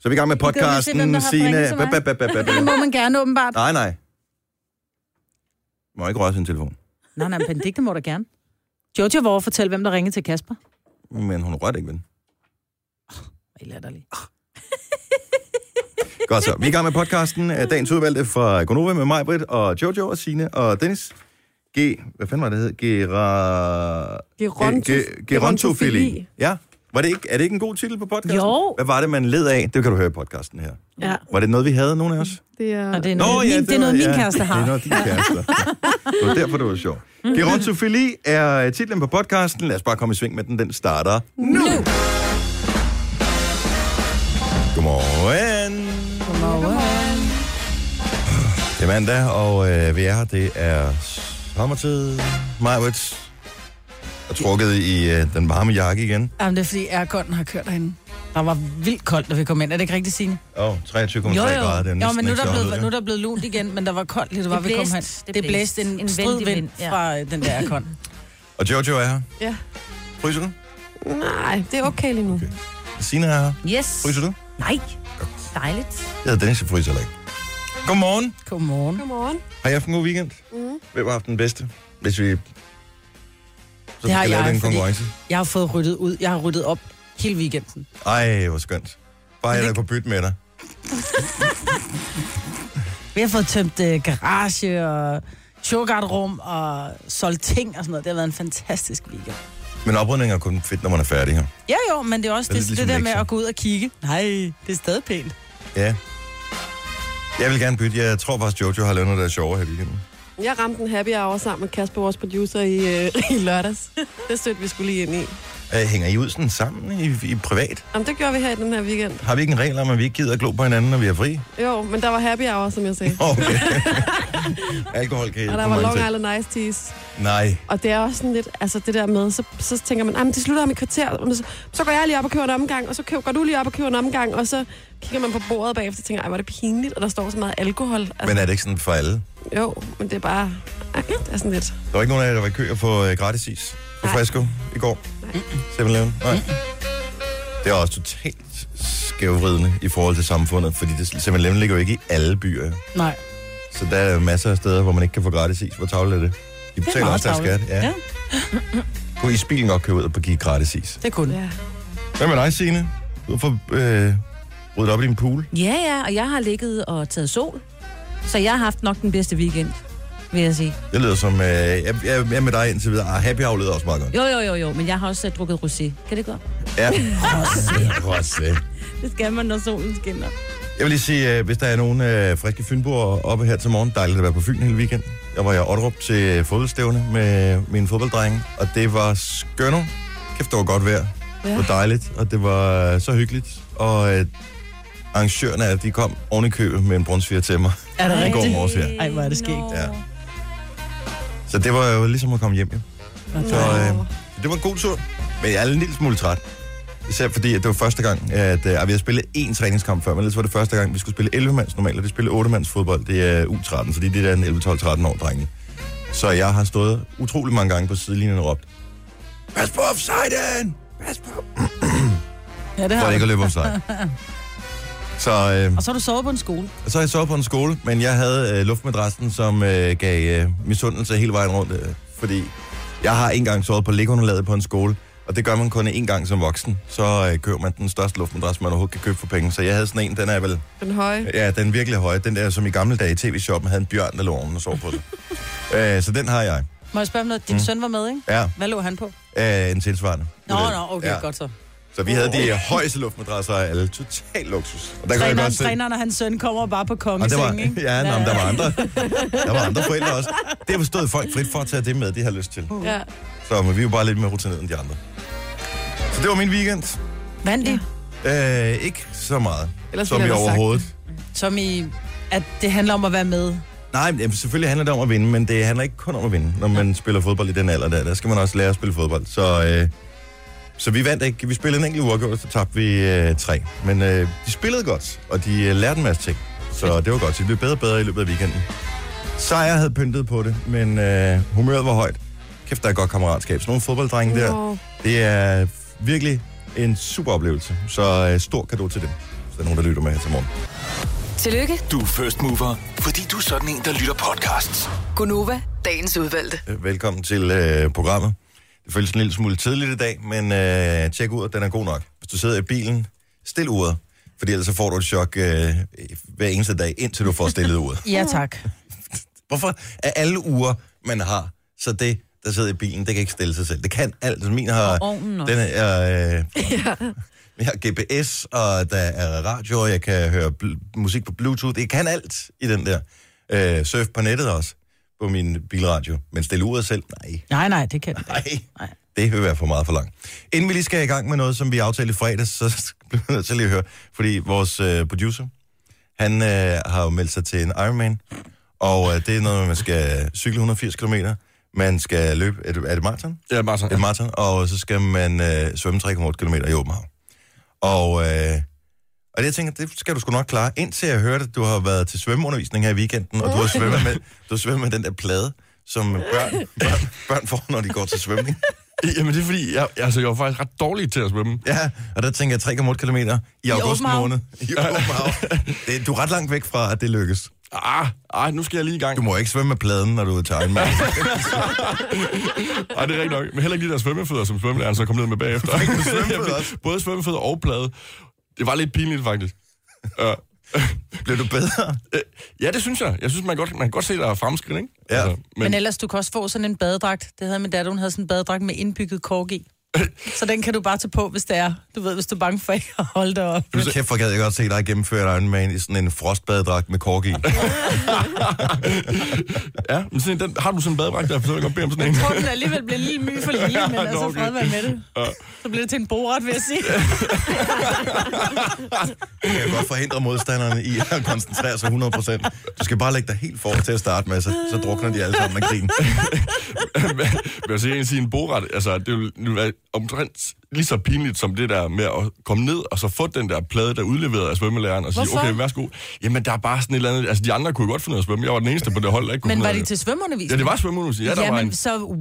Så er vi i gang med kan jo lige se, hvem podcasten, der har Signe. ringet til Ba, mig. ba, ba, ba, ba, ba. Det må man gerne åbenbart. Nej, nej. Må ikke røre sin telefon. Nej, nej, men Benedikte må da gerne. Jojo var over at fortælle, hvem der ringede til Kasper. Men hun rørte ikke ved den. Hvor latterlig. Godt så. Vi er i gang med podcasten. Øh, Dagens udvalgte fra Gonova med mig, Britt, og Jojo og Signe og Dennis. G... Hvad fanden var det, det hed? Gera... Ge- Geronto- Gerontofili. gerontofili. Ja. Var det ikke, er det ikke en god titel på podcasten? Jo. Hvad var det, man led af? Det kan du høre i podcasten her. Ja, Var det noget, vi havde, nogen af os? det er... Og det er noget, Nå, ja, min, det, er var- noget min kæreste Det er har. noget, din kæreste. Det var derfor, det var sjovt. Gerontofili er øh, titlen på podcasten. Lad os bare komme i sving med den. Den starter nu. Godmorgen. Det er mandag, og øh, vi er her. Det er sommertid. Majwitz er trukket i øh, den varme jakke igen. Jamen, det er fordi airconen har kørt herinde. Der var vildt koldt, da vi kom ind. Er det ikke rigtigt, Signe? Åh, oh, 23,3 grader. Det er jo næsten men nu er, ikke der så blevet, højt, nu er ikke? der blevet lunt igen, men der var koldt lige, det var, Det vi kom blæste. hen. Det Det blæste blæste. en, en En strid vældig vind vind, ja. fra øh, den der aircon. Og Jojo er her. Ja. Fryser du? Nej, det er okay lige nu. Sina er her. Yes. Fryser du? Nej. Dejligt. Jeg hedder Dennis, jeg fryser heller ikke. Godmorgen. Godmorgen. Godmorgen. Har I haft en god weekend? Mm. Hvem har haft den bedste? Hvis vi... Så vi har kan lave jeg, den fordi- konkurrence. Jeg har fået ryddet ud. Jeg har ryddet op hele weekenden. Ej, hvor skønt. Bare jeg er på bytte med dig. Vi har fået tømt øh, garage og showgardrum og solgt ting og sådan noget. Det har været en fantastisk weekend. Men oprydning er kun fedt, når man er færdig her. Ja jo, men det er også Det er det, lidt ligesom det, det der med lektier. at gå ud og kigge. Nej, det er stadig pænt. Ja. Jeg vil gerne bytte. Jeg tror faktisk, Jojo har lavet noget, der er sjovere her i weekenden. Jeg ramte en happy hour sammen med Kasper, vores producer, i, øh, i lørdags. Det stødte vi skulle lige ind i. Øh, hænger I ud sådan sammen i, i, privat? Jamen, det gjorde vi her i den her weekend. Har vi ikke en regel om, at vi ikke gider at glo på hinanden, når vi er fri? Jo, men der var happy hour, som jeg sagde. Okay. Alkohol kan Og hjælpe der på var mange Long ting. Island Ice Teas. Nej. Og det er også sådan lidt, altså det der med, så, så tænker man, jamen det slutter om et kvarter, men så, så går jeg lige op og køber en omgang, og så køb, går du lige op og køber en omgang, og så kigger man på bordet bagefter og tænker, ej, var det pinligt, og der står så meget alkohol. Altså, Men er det ikke sådan for alle? men... Jo, men det er bare, ej, det er sådan lidt. Der var ikke nogen af jer, der var i kø og få øh, gratis is på Nej. Fresco i går? Nej. 7-Eleven? Nej. Det er også totalt skævvridende i forhold til samfundet, fordi det 7-Eleven ligger jo ikke i alle byer. Nej. Så der er masser af steder, hvor man ikke kan få gratis is. Hvor tavlet er det? De betaler meget også deres skat. tarveligt. Ja. Ja. Kunne isbilen godt køre ud og give gratis is? Det kunne. Ja. Hvad med dig, Signe? Du har fået øh, ryddet op i din pool. Ja, ja, og jeg har ligget og taget sol, så jeg har haft nok den bedste weekend, vil jeg sige. Det lyder som... Øh, jeg, jeg, jeg er med dig indtil videre. Ah, happy Hour lyder også meget godt. Jo, jo, jo, jo, men jeg har også øh, drukket rosé. Kan det godt? Ja. Rosé. Rosé. Det skal man, når solen skinner. Jeg vil lige sige, øh, hvis der er nogen øh, friske fynboer oppe her til morgen, dejligt at være på Fyn hele weekenden. Jeg var i Otterup til øh, fodboldstævne med mine fodbolddrenge, og det var skønner. Kæft, det var godt vejr. Ja. Det var dejligt, og det var øh, så hyggeligt. Og øh, arrangørerne, af, de kom oven i købet med en brunsviger til mig. Er det I går rigtigt? morges her. Ej, hvor er det skægt. Ja. Så det var jo ligesom at komme hjem, jo. Så øh, så det var en god tur, men jeg er en lille smule træt. Især fordi, at det var første gang, at øh, ej, vi havde spillet én træningskamp før, men ellers var det første gang, vi skulle spille 11-mands normalt, og det spillede 8-mands fodbold, det er U13, fordi det er en 11-12-13 år, drenge. Så jeg har stået utrolig mange gange på sidelinjen og råbt, Pas på offsiden! Pas på! Ja, det For har ikke du. at løbe offside. Så, øh, Og så har du sovet på en skole. så har jeg sovet på en skole, men jeg havde øh, luftmadrassen, som øh, gav øh, misundelse hele vejen rundt. Øh, fordi jeg har engang sovet på liggeunderlaget på en skole, og det gør man kun én gang som voksen. Så øh, køber man den største luftmadras, man overhovedet kan købe for penge. Så jeg havde sådan en, den er vel... Den høje. Ja, den er virkelig høje. Den der, som i gamle dage i tv-shoppen havde en bjørn, der lå oven og sov på den. øh, så den har jeg. Må jeg spørge om Mm. noget? Din søn var med, ikke? Ja, Hvad lå han på? øh, en tilsvarende. Nå, model. nå, okay, ja. godt så. Så vi havde de højeste luftmadrasser af alle. Total luksus. Og der Træneren, træneren og hans søn kommer bare på Og der var, kongesengen, ikke? ja, nå, men der var andre. Der var andre forældre også. Det forstod folk frit for at tage det med, de har lyst til. Ja. Så men vi var bare lidt mere rutineret end de andre. Så det var min weekend. Vandt I? Øh, ikke så meget, Ellers som ville i jeg have sagt overhovedet. Som i, at det handler om at være med. Nej, men selvfølgelig handler det om at vinde, men det handler ikke kun om at vinde, når man spiller fodbold i den alder der. Der skal man også lære at spille fodbold. Så, øh, så vi vandt ikke. Vi spillede en enkelt uafgjort, og så tabte vi øh, tre. Men øh, de spillede godt, og de øh, lærte en masse ting. Så det var godt. Så det blev bedre og bedre i løbet af weekenden. Sejr havde pyntet på det, men øh, humøret var højt. Kæft, der er et godt kammeratskab. Sådan nogle fodbolddrenge der, Nå. det er virkelig en super oplevelse. Så øh, stor gave til dem. der er nogen, der lytter med her til morgen. Tillykke, Du er first mover, fordi du er sådan en, der lytter podcasts. Gunova, dagens udvalgte. Øh, Velkommen til øh, programmet. Det føles en lille smule tidligt i dag, men øh, tjek ud, den er god nok. Hvis du sidder i bilen, stil uret, fordi ellers så får du et chok øh, hver eneste dag, indtil du får stillet uret. Ja, tak. Hvorfor er alle uger, man har, så det, der sidder i bilen, det kan ikke stille sig selv. Det kan alt. Min har... Og ovnen også. den er, øh, Jeg har GPS, og der er radio, og jeg kan høre bl- musik på Bluetooth. Jeg kan alt i den der. Øh, surf på nettet også, på min bilradio. Men stille uret selv? Nej. Nej, nej, det kan du ikke. Nej. Nej. Det vil være for meget for langt. Inden vi lige skal i gang med noget, som vi aftalte i fredags, så bliver jeg nødt til lige at høre, fordi vores øh, producer, han øh, har jo meldt sig til en Ironman, og øh, det er noget, med, man skal cykle 180 km, man skal løbe, er det, er det maraton? Ja, Martin. Et maraton, og så skal man øh, svømme 3,8 km i åben hav. Og, øh, og det, jeg tænker, det skal du sgu nok klare, indtil jeg hørte, at du har været til svømmeundervisning her i weekenden, og du har svømmet med, du har svømmet med den der plade, som børn, børn, børn får, når de går til svømning. Jamen, det er fordi, jeg, altså, jeg var faktisk ret dårlig til at svømme. Ja, og der tænker jeg 3,8 km i august åben hav. måned. I åben hav. Det, du er ret langt væk fra, at det lykkes. Ah, ah, nu skal jeg lige i gang. Du må ikke svømme med pladen, når du er ude til Ironman. Ej, det er rigtigt nok. Men heller ikke de der svømmefødder, som svømmelæreren så kom ned med bagefter. svømmefødder også? Både svømmefødder og plade. Det var lidt pinligt, faktisk. Ja. Bliver du bedre? Øh, ja, det synes jeg. Jeg synes, man, godt, man kan godt se, der er fremskridt, ikke? Altså, Ja. Men men, ellers, du kan også få sådan en badedragt. Det havde min datter, hun havde sådan en badedragt med indbygget kork i. Så den kan du bare tage på, hvis det er. Du ved, hvis du er bange for ikke at holde dig op. Du kæft, hvor gad jeg godt se dig gennemføre et Ironman i sådan en frostbadedragt med kork i. ja, men sådan, en, den, har du sådan en badedragt, der forsøger at bede om sådan en? øh, Jeg tror, den alligevel bliver en lille my for lige, men Ja, nå, altså okay. fred være med det. Så bliver det til en boret, vil jeg sige. Det kan godt forhindre modstanderne i at koncentrere sig 100%. Du skal bare lægge dig helt for til at starte med, så, så drukner de alle sammen af grin. Men jeg vil egentlig sige, en boret, altså, det vil, det vil være omtrent lige så pinligt som det der med at komme ned og så få den der plade, der udleveret af svømmelæreren, og sige, Hvorfor? okay, værsgo. Jamen, der er bare sådan et eller andet... Altså, de andre kunne jo godt finde ud af at svømme. Jeg var den eneste på det hold, der ikke kunne Men finde var ud af det til svømmeundervisning? Ja, det var svømmeundervisning. Ja, der var Jamen, en... så... uh,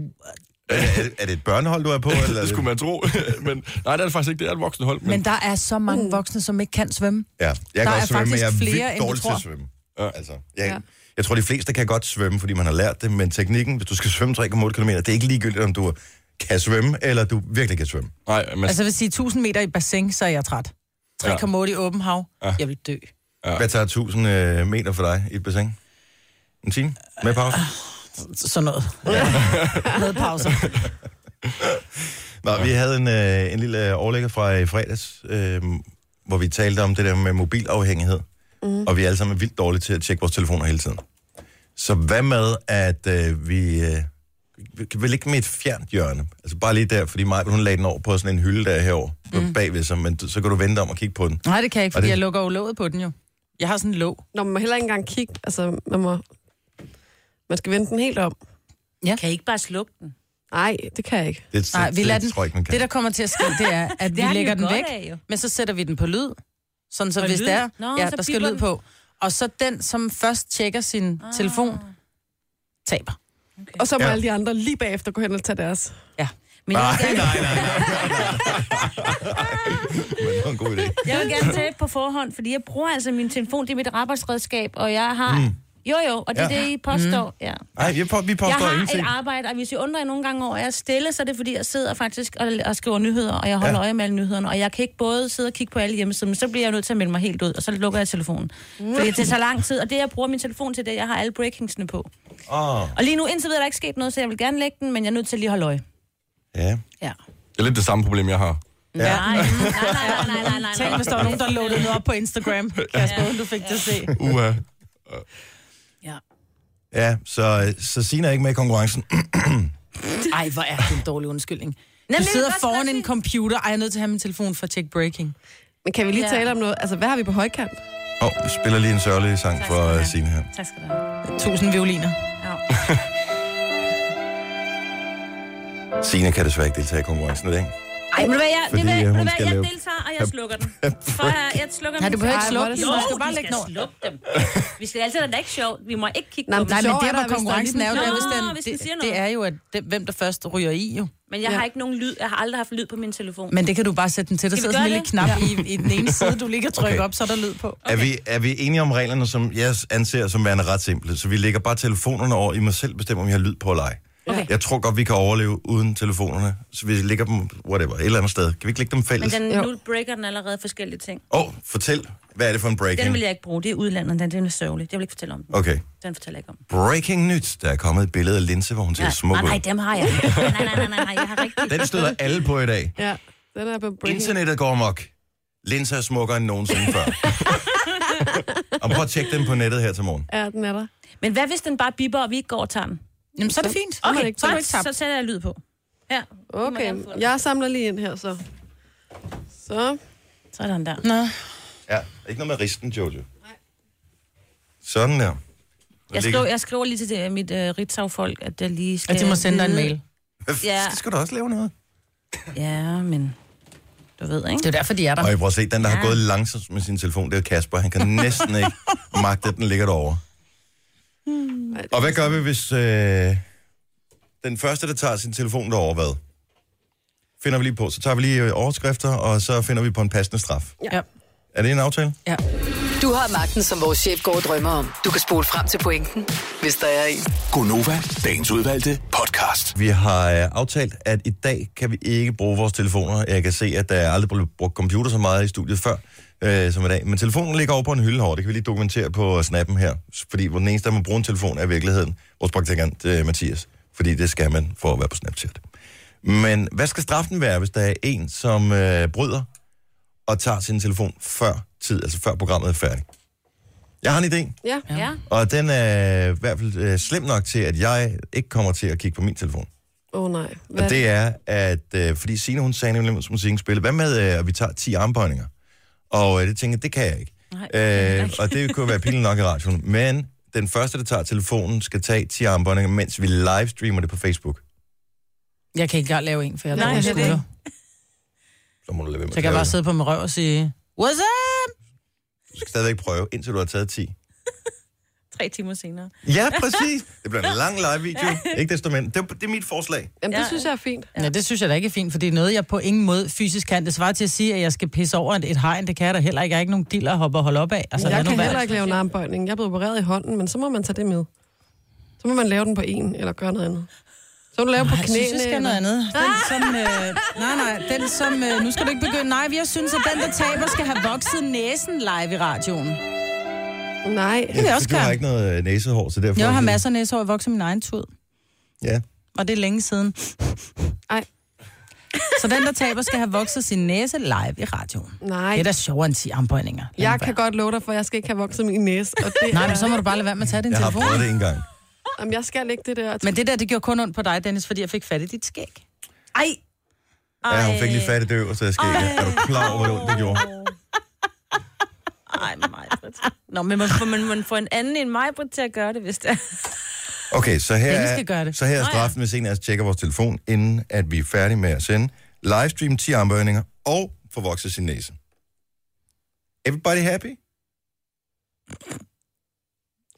Er, er, er det et børnehold, du er på? Eller? Det skulle man tro. men nej, det er det faktisk ikke. Det er et voksne hold. Men, Men der er så mange voksne, som ikke kan svømme. Ja, jeg Der kan er også svømme, men faktisk jeg er flere, end vildt dårlig du til tror. at svømme. Ja. Altså, jeg, ja. jeg tror, de fleste kan godt svømme, fordi man har lært det, men teknikken, hvis du skal svømme 3,8 km, det er ikke ligegyldigt, om du kan svømme, eller du virkelig kan svømme. nej, men, Altså, hvis sige 1000 meter i bassin, så er jeg træt. 3,8 i åben hav. Jeg vil dø. Ja. Hvad tager 1000 øh, meter for dig i et bassin? En time? Med pause? Sådan noget. Med pauser. Nå, vi havde en, øh, en lille overlægger fra i fredags, øh, hvor vi talte om det der med mobilafhængighed. Mm. Og vi er alle sammen vildt dårlige til at tjekke vores telefoner hele tiden. Så hvad med, at øh, vi... Øh, vi kan vel ikke med et fjernt hjørne. Altså bare lige der, fordi Maja, hun lagde den over på sådan en hylde der herovre, mm. bagved sig, men du- så kan du vente om og kigge på den. Nej, det kan jeg ikke, Og fordi det- jeg lukker jo låget på den jo. Jeg har sådan en låg. Når man må heller ikke engang kigge, altså man må... Man skal vende den helt om. Kan I ikke bare slukke den? Nej, det kan jeg ikke. Det, Nej, vi det, lader det, den. tror jeg ikke, man kan. Det, der kommer til at ske, det er, at vi har de lægger jo den godt væk, af, jo. men så sætter vi den på lyd. Sådan så, Og hvis lyd? det er, Nå, ja, så der skal piper lyd den. på. Og så den, som først tjekker sin ah. telefon, taber. Og så må Ja. ja. alle de andre lige bagefter gå hen og tage deres. Men jeg vil, gerne, Men det var en god idé. jeg vil gerne tage på forhånd, fordi jeg bruger altså min telefon, det er mit arbejdsredskab, og jeg har... Mm. Jo, jo, og det er Ja. det, I påstår. Mm. Ja. Nej, vi, på, vi Jeg påstår har et ingenting. arbejde, og hvis I undrer jer nogle gange over, at jeg er stille, så er det fordi, jeg sidder faktisk og, og skriver nyheder, og jeg Ja. holder ja. øje med alle nyhederne, og jeg kan ikke både sidde og kigge på alle hjemmesider, men så bliver jeg nødt til at melde mig helt ud, og så lukker jeg telefonen. Mm. Fordi det tager så lang tid, og det, jeg bruger min telefon til, det er, at jeg har alle breakingsene på. Åh, Og lige nu, indtil videre, er der ikke sket noget, så jeg vil gerne lægge den, men jeg er nødt til at lige at holde øje. ja. Ja. det er lidt det samme problem, jeg har. Ja. Nej, nej, nej, nej, nej, nej, Tænk, nej. hvis der var nogen, der loadede noget op på Instagram. Kasper, ja. du fik det at se. Uha. Ja. Ja, så, så Sina er ikke med i konkurrencen. Ej, hvor er det en dårlig undskyldning. Du Nemlig, sidder hvad skal foran jeg en sige? computer. Ej, jeg er nødt til at have min telefon for at tjekke breaking. Men kan vi lige Ja. ja. tale om noget? Altså, hvad har vi på højkant? Åh, oh, spiller lige en sørgelig sang Tak skal for du uh, have. Signe her. Tak skal du have. Tusind violiner. Ja. Signe kan desværre ikke deltage i konkurrencen i dag. Ej, men hvad, jeg, Fordi, det, ved, øh, jeg- ved, hun du hvad, skal jeg lave- deltager, og jeg slukker den. For jeg, jeg slukker Nej, min- du behøver ikke Ej, slukke hvor er det den. sjovt. Du skal bare vi lægge den over. slukke dem. Vi skal altid, det er ikke sjovt. Vi må ikke kigge Nej, på men dem. Nej, men Sjov det er er, hvor der, hvis der konkurrencen lige er jo, der, pludselig- hvis Nå, hvis den den, siger det, noget. det er jo, at det, hvem der først ryger i jo. Men jeg Ja. har ikke nogen lyd. Jeg har aldrig haft lyd på min telefon. Men det kan du bare sætte den til. Der Skal sidder vi sådan en gøre lille knap i, i den ene side, du ligger og trykker Okay. okay. op, så er der lyd på. Okay. Er, vi, er vi enige om reglerne, som jeg anser som værende ret simple? Så vi lægger bare telefonerne over, I må selv bestemme, om I har lyd på eller ej. Okay. Jeg tror godt, vi kan overleve uden telefonerne. Så vi lægger dem, whatever, et eller andet sted. Kan vi ikke lægge dem Men fælles? Åh, den, Jo. nu breaker den allerede forskellige ting. oh, fortæl, hvad er det for en Den breaking? vil jeg ikke bruge. Det er udlandet. Den, den er sørgelig. Det vil jeg ikke fortælle om. Den, Okay. den fortæller jeg ikke om. Breaking nyt. Der er kommet et billede af Linse, hvor hun ser Nej, smuk nej, nej, ud. dem har jeg. Nej, nej, nej, nej, nej, jeg har rigtig... Den støder alle på i dag. Ja, den er på breaking. Internettet går mok. Linse er smukkere end nogensinde før. og prøv at tjekke den på nettet her til morgen. Ja, den er der. Men hvad hvis den bare bipper, og vi ikke går og tager den? Jamen, så er det fint. er det Okay, ikke så, tabt. så, så sætter jeg lyd på. Ja, du må gerne få Okay, den. jeg samler lige ind her så. Så. Så er den der. Nå. Ja, ikke noget med risten, Jojo. Sådan der. Jeg Ligger- skriver, jeg skriver lige til det, mit øh, ritzau-folk, at jeg lige skal... At de må sende dig en vide- mail. Hvad f- Ja. Skal du også lave noget? Ja, men du ved, ikke? Det er jo derfor, de er der. Og jeg prøver at se, den der har gået langsomt med sin telefon, det er Kasper. Han kan næsten ikke magte, at den ligger derovre. Og hvad gør vi, hvis øh, den første, der tager sin telefon derover, hvad? Finder vi lige på. Så tager vi lige øh, overskrifter, og så finder vi på en passende straf. Ja. Er det en aftale? ja. Du har magten, som vores chef går og drømmer om. Du kan spole frem til pointen, hvis der er en. Gonova, dagens udvalgte podcast. Vi har øh, aftalt, at i dag kan vi ikke bruge vores telefoner. Jeg kan se, at der er aldrig blevet brugt computer så meget i studiet før, øh, som i dag. Men telefonen ligger over på en hylde herovre. Det kan vi lige dokumentere på snappen her. Fordi den eneste, der må bruge en telefon, er i virkeligheden vores praktikant øh, Mathias. Fordi det skal man for at være på Snapchat. Men hvad skal straffen være, hvis der er en, som øh, bryder og tager sin telefon før tid, altså før programmet er færdigt? Jeg har en idé. Ja. Ja. Og den er i hvert fald øh, slem nok til, at jeg ikke kommer til at kigge på min telefon. Åh oh, nej. Hvad? Og det er, at øh, fordi Signe, hun sagde nemlig, som musikken spillede, hvad med, øh, at vi tager 10 armbøjninger? Og øh, det tænkte jeg, det kan jeg ikke. Nej, øh, og det kunne være pinligt nok i radioen. Men den første, der tager telefonen, skal tage 10 armbøjninger, mens vi livestreamer det på Facebook. Jeg kan ikke engang lave en, for jeg Nej, har dårlige det er det. skulder. Så må du lade være med Så kan jeg lave bare det. sidde på min røv og sige, what's up? Du skal stadigvæk prøve, indtil du har taget 10. Tre timer senere. Ja, præcis. Det bliver en lang live-video. Ikke desto mindre. Det, det er mit forslag. Jamen, det Ja. synes jeg er fint. Ja, det synes jeg da ikke er fint, for det er noget, jeg på ingen måde fysisk kan. Det svarer til at sige, at jeg skal pisse over et, et hegn, det kan jeg da heller ikke. Jeg er ikke nogen diller at hoppe og holde op af. Altså, lad Jeg nu kan være. heller ikke lave en armbøjning. Jeg er blevet opereret i hånden, men så må man tage det med. Så må man lave den på en, eller gøre noget andet. Så må du lave på Jeg knæene. synes, jeg skal eller- noget andet. Den som, øh, nej, nej, den som, øh, nu skal du ikke begynde. Nej, jeg synes, at den, der taber, skal have vokset næsen live i radioen. Nej. Det vil jeg også Du har gøre. ikke noget øh, næsehår, så derfor... Jeg har masser af næsehår, jeg vokser min egen tud. Ja. Og det er længe siden. Ej. Så den, der taber, skal have vokset sin næse live i radioen. Nej. Det er da sjovere end 10 armbøjninger. Lad Jeg nu være. kan godt love dig for, at jeg skal ikke have vokset min næse. Og det Nej, er, men så må du bare lade være med at tage din Jeg har telefon. prøvet det en gang. jamen, jeg skal ikke det der. Men det der, det gjorde kun ondt på dig, Dennis, fordi jeg fik fat i dit skæg. Ej! Ja, hun fik lige fat i det øverste af skægget. Er du klar over, hvor ondt det gjorde? Ej, mig, Nå, men man får, man, man får en anden end mig, til at gøre det, hvis det er. Okay, så her, Dennis er, skal gøre det. så her er straffen, hvis en af os tjekker vores telefon, inden at vi er færdige med at sende. Livestream 10 armbøjninger og få vokset sin næse. Everybody happy?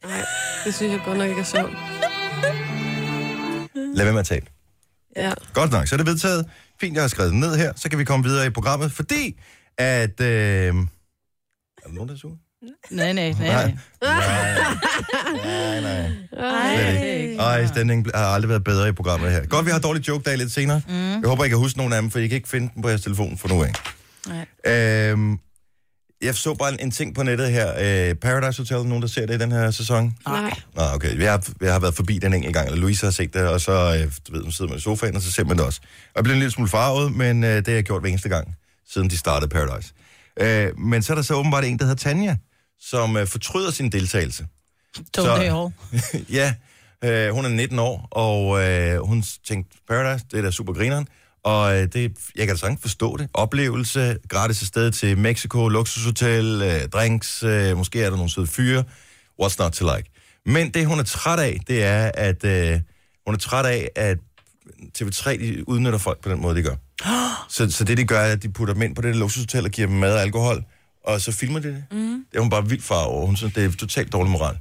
Nej, det synes jeg godt nok ikke er sjovt. Lad være med at tabe. Ja. Godt nok, så er det vedtaget. Fint, jeg har skrevet det ned her, så kan vi komme videre i programmet, fordi at... Øh... Er der nogen, der er sur? Nej, nej, nej. Nej, nej. nej. Ej, stemningen bl- har aldrig været bedre i programmet her. Godt, vi har dårlig joke dag lidt senere. Mm. Jeg håber, I kan huske nogen af dem, for I kan ikke finde dem på jeres telefon for nu af. Øhm, jeg så bare en, en ting på nettet her. Øh, Paradise Hotel, nogen der ser det i den her sæson? Nej. Nå, okay. Jeg har, jeg har været forbi den enkelt gang, eller Louise har set det, og så øh, du ved, hun sidder man i sofaen, og så ser man det også. Og jeg blev en lille smule farvet, men øh, det har jeg gjort hver eneste gang, siden de startede Paradise. Øh, men så er der så åbenbart en, der hedder Tanja, som øh, fortryder sin deltagelse. Don't Så- day all. ja, øh, hun er 19 år, og øh, hun tænkte, Paradise, det er da super grineren. Og øh, det, jeg kan da sagtens forstå det. Oplevelse, gratis afsted til Mexico, luksushotel, øh, drinks, øh, måske er der nogle søde fyre. What's not to like? Men det, hun er træt af, det er, at øh, hun er træt af, at TV3 de udnytter folk på den måde, de gør. Så, så det, de gør, er, at de putter dem ind på det der luksushotel og giver dem mad og alkohol, og så filmer de det. Mm. Det er hun bare vildt far over. Hun synes, det er totalt dårlig moral.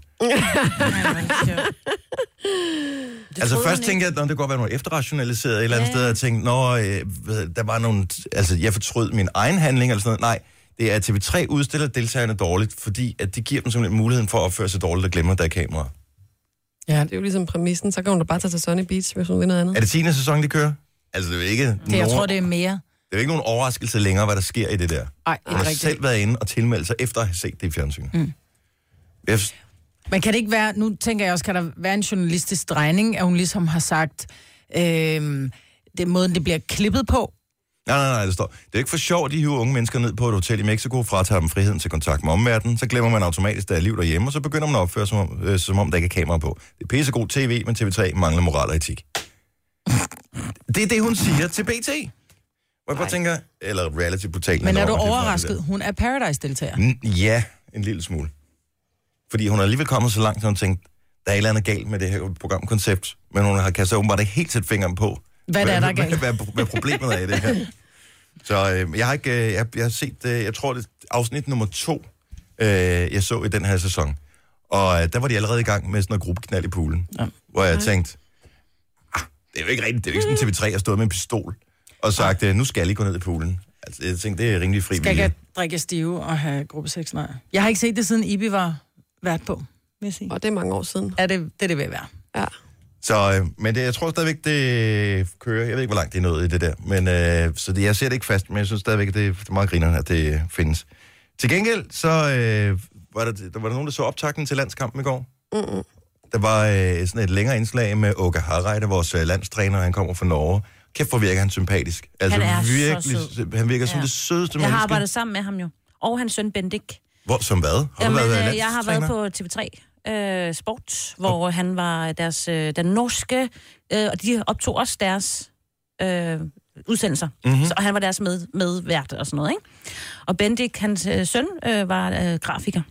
altså først tænkte jeg, at nå, det kan godt være, at hun var efterrationaliseret et eller andet ja. sted, og jeg tænkte, nå, øh, hvad- der var nogle, altså jeg fortrød min egen handling eller sådan noget. Nej, det er, at TV3 udstiller deltagerne dårligt, fordi at de giver dem simpelthen muligheden for at opføre sig dårligt og glemme, at der er kamera. Ja, det er jo ligesom præmissen. Så kan hun da bare tage til Sunny Beach, hvis hun vil noget andet. Er det 10. sæson, de kører? Altså, det er jo ikke, det, Det, nogen, jeg tror, det er mere. det er jo ikke nogen overraskelse længere, hvad der sker i det der. Nej, Hun har selv været inde og tilmeldt sig efter at have set det i fjernsynet. Mm. Jeg, Men kan det ikke være, nu tænker jeg også, kan der være en journalistisk drejning, at hun ligesom har sagt, øh, det er måden, det bliver klippet på, Nej, nej, nej, det står. Det er ikke for sjovt, de hiver unge mennesker ned på et hotel i Mexico, fratager dem friheden til kontakt med omverdenen, så glemmer man automatisk, der er liv derhjemme, og så begynder man at opføre sig, som, om- øh, som om der ikke er kamera på. Det er pissegod tv, men TV3 mangler moral og etik. Det er det, hun siger til BT. Hvor jeg bare tænker, eller reality-portalen. Men eller er hvor du man kan finde overrasket? Hun er Paradise-deltager. det der. N- Ja, en lille smule. Fordi hun er alligevel kommet så langt, at hun tænkte, der er et eller andet galt med det her programkoncept, men hun har kastet åbenbart ikke helt sætte fingeren på, Hvad der er, der er hvad, galt? hvad, hvad problemet er i det her. Så øh, jeg har ikke, øh, jeg, jeg har set, øh, jeg tror det er afsnit nummer to, øh, jeg så i den her sæson. Og øh, der var de allerede i gang med sådan noget gruppeknald i poolen, ja. hvor jeg tænkte, "Ah, det er jo ikke rigtigt, det er jo ikke sådan TV3 har stået med en pistol og sagt, øh, nu skal I gå ned i poolen. Altså, jeg tænkte, det er rimelig fri Skal vilje. ikke drikke stive og have gruppe 6, nej. Jeg har ikke set det, siden Ibi var vært på, vil jeg sige. Og det er mange år siden. Er det det, er det vil være? Ja. Så, øh, men det, jeg tror stadigvæk, det kører. Jeg ved ikke, hvor langt det er nået i det der. Men, øh, så det, jeg ser det ikke fast, men jeg synes stadigvæk, det er meget grinerende, at det øh, findes. Til gengæld, så øh, var, der, der var der nogen, der så optakten til landskampen i går. Mm-mm. Der var øh, sådan et længere indslag med Åke Harreide, vores øh, landstræner, han kommer fra Norge. Kæft, hvor virker han sympatisk. Altså, Han er så virkelig, sød. Han virker ja. som Ja. det sødeste Jeg har menneske. arbejdet sammen med ham jo. Og hans søn Bendik. Hvor, som hvad? Har du været øh, landstræner? jeg har været på TV3 øh, Sport, hvor han var deres, øh, den norske, øh, og de optog også deres øh, udsendelser. Mm-hmm. Så, og han var deres med, medvært og sådan noget, ikke? Og Bendik, hans øh, søn, øh, var øh, grafiker.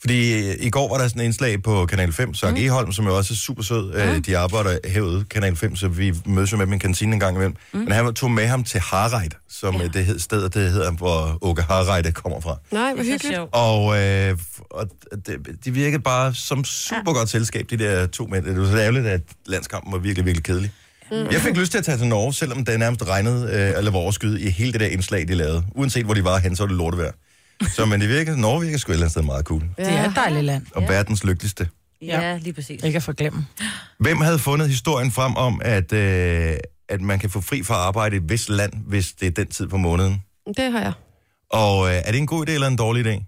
Fordi øh, i går var der sådan en indslag på Kanal 5, Søren mm. Eholm, som jo også er super sød. Mm. De arbejder herude, Kanal 5, så vi mødes jo med dem i kantinen en gang imellem. Mm. Men han tog med ham til Harreit, som ja. det hed, stedet det hedder, hvor Åke Harreide kommer fra. Nej, hvor Det er så hyggeligt. Altså, sjovt. Og, øh, og det, de virkede bare som super godt selskab, de der to mænd. Det var så ærgerligt, at landskampen var virkelig, virkelig kedelig. Mm. Jeg fik lyst til at tage til Norge, selvom det nærmest regnede øh, eller var overskyet i hele det der indslag, de lavede. Uanset hvor de var hen, så var det lortevejr. Så men det virkede, Norge virker sgu et eller andet sted meget cool. Ja. Det er et dejligt land. Og verdens lykkeligste. Ja, Ja. ja lige præcis. Ikke at forglemme. Hvem havde fundet historien frem om, at, øh, at man kan få fri fra arbejde i et vist land, hvis det er den tid på måneden? Det har jeg. Og øh, er det en god idé eller en dårlig idé?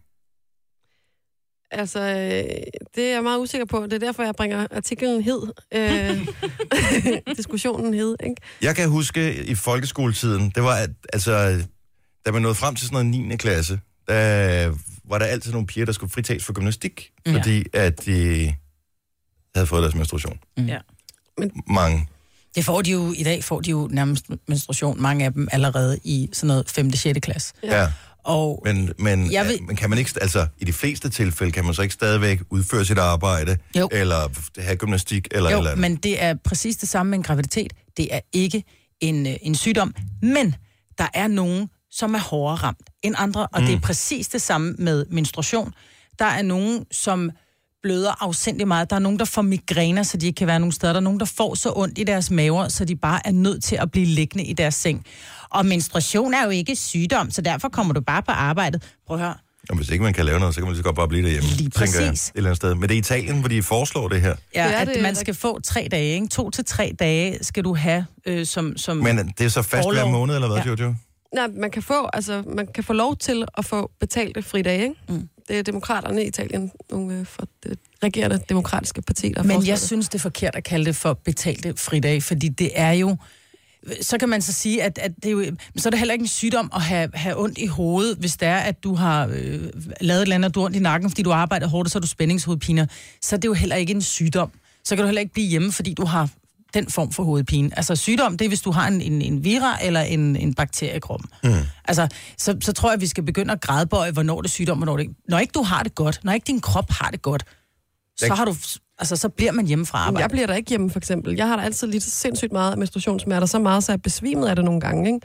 Altså, øh, det er jeg meget usikker på. Det er derfor, jeg bringer artiklen hed. Øh, diskussionen hed, ikke? Jeg kan huske i folkeskoletiden, det var, at, altså, da man nåede frem til sådan noget 9. klasse, der var der altid nogle piger, der skulle fritages for gymnastik, Ja. fordi at de havde fået deres menstruation. Mm. Ja. Men... Mange. Det får de jo, i dag får de jo nærmest menstruation, mange af dem allerede i sådan noget 5. 6. klasse. Ja. ja. Og Men, men, Jeg vil... vil- men kan man ikke, altså i de fleste tilfælde, kan man så ikke stadigvæk udføre sit arbejde, Jo. eller have gymnastik, eller et eller jo, andet? men det er præcis det samme med en graviditet. Det er ikke en, øh, en sygdom, men der er nogen, som er hårdere ramt end andre, og mm. det er præcis det samme med menstruation. Der er nogen, som bløder afsindelig meget. Der er nogen, der får migræner, så de ikke kan være nogen steder. Der er nogen, der får så ondt i deres maver, så de bare er nødt til at blive liggende i deres seng. Og menstruation er jo ikke sygdom, så derfor kommer du bare på arbejet. Prøv at høre, Og hvis ikke man kan lave noget, så kan man lige så godt bare blive derhjemme. Lige tænker jeg, præcis. Mm. et eller andet sted. Men det er Italien, hvor de foreslår det her. Ja, Det er at det, man Rik- skal få tre dage, ikke? To til tre dage skal du have øh, som... som Men det er så fast hver Orlov. måned, eller hvad, ja. Ja. Jojo? Nej, man kan få, altså, man kan få lov til at få betalte fridage, ikke? Mm. Det er demokraterne i Italien, nogle øh, fra det regerende demokratiske parti, der har Men foreslået jeg det. synes, det er forkert at kalde det for betalte fridage, fordi det er jo... Så kan man så sige, at, at det er jo, men så er det heller ikke en sygdom at have, have ondt i hovedet, hvis det er, at du har øh, lavet et eller andet, og du har ondt i nakken, fordi du arbejder hårdt, og så har du spændingshovedpiner. Så er det jo heller ikke en sygdom. Så kan du heller ikke blive hjemme, fordi du har den form for hovedpine. Altså sygdom, det er, hvis du har en, en, en vira eller en, en bakterie i kroppen. Mm. Altså, så, så tror jeg, vi skal begynde at grædbøje, hvornår det er sygdom, hvornår det ikke. Når ikke du har det godt, når ikke din krop har det godt, så har du... Altså, så bliver man hjemme fra Jeg arbejde. bliver der ikke hjemme, for eksempel. Jeg har da altid lidt sindssygt meget af menstruationssmerter, så meget, så jeg er besvimet af det nogle gange, ikke?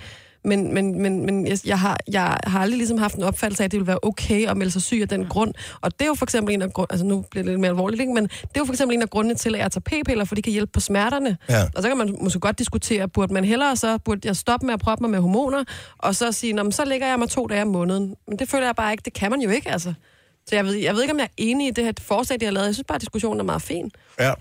Men, men, men, men jeg, jeg, har, jeg har aldrig ligesom haft en opfattelse af, at det ville være okay at melde sig syg af den grund. Og det er jo for eksempel en af grund, altså nu bliver det lidt mere alvorligt, ikke? men det er jo for eksempel en af grundene til, at jeg tager p-piller, for de kan hjælpe på smerterne. Ja. Og så kan man måske godt diskutere, burde man hellere så, burde jeg stoppe med at proppe mig med hormoner, og så sige, "Nå, men så ligger jeg mig to dage om måneden. Men det føler jeg bare ikke, det kan man jo ikke, altså. Så jeg ved, jeg ved ikke, om jeg er enig i det her forslag, de har lavet. Jeg synes bare, at diskussionen er meget fin. Ja.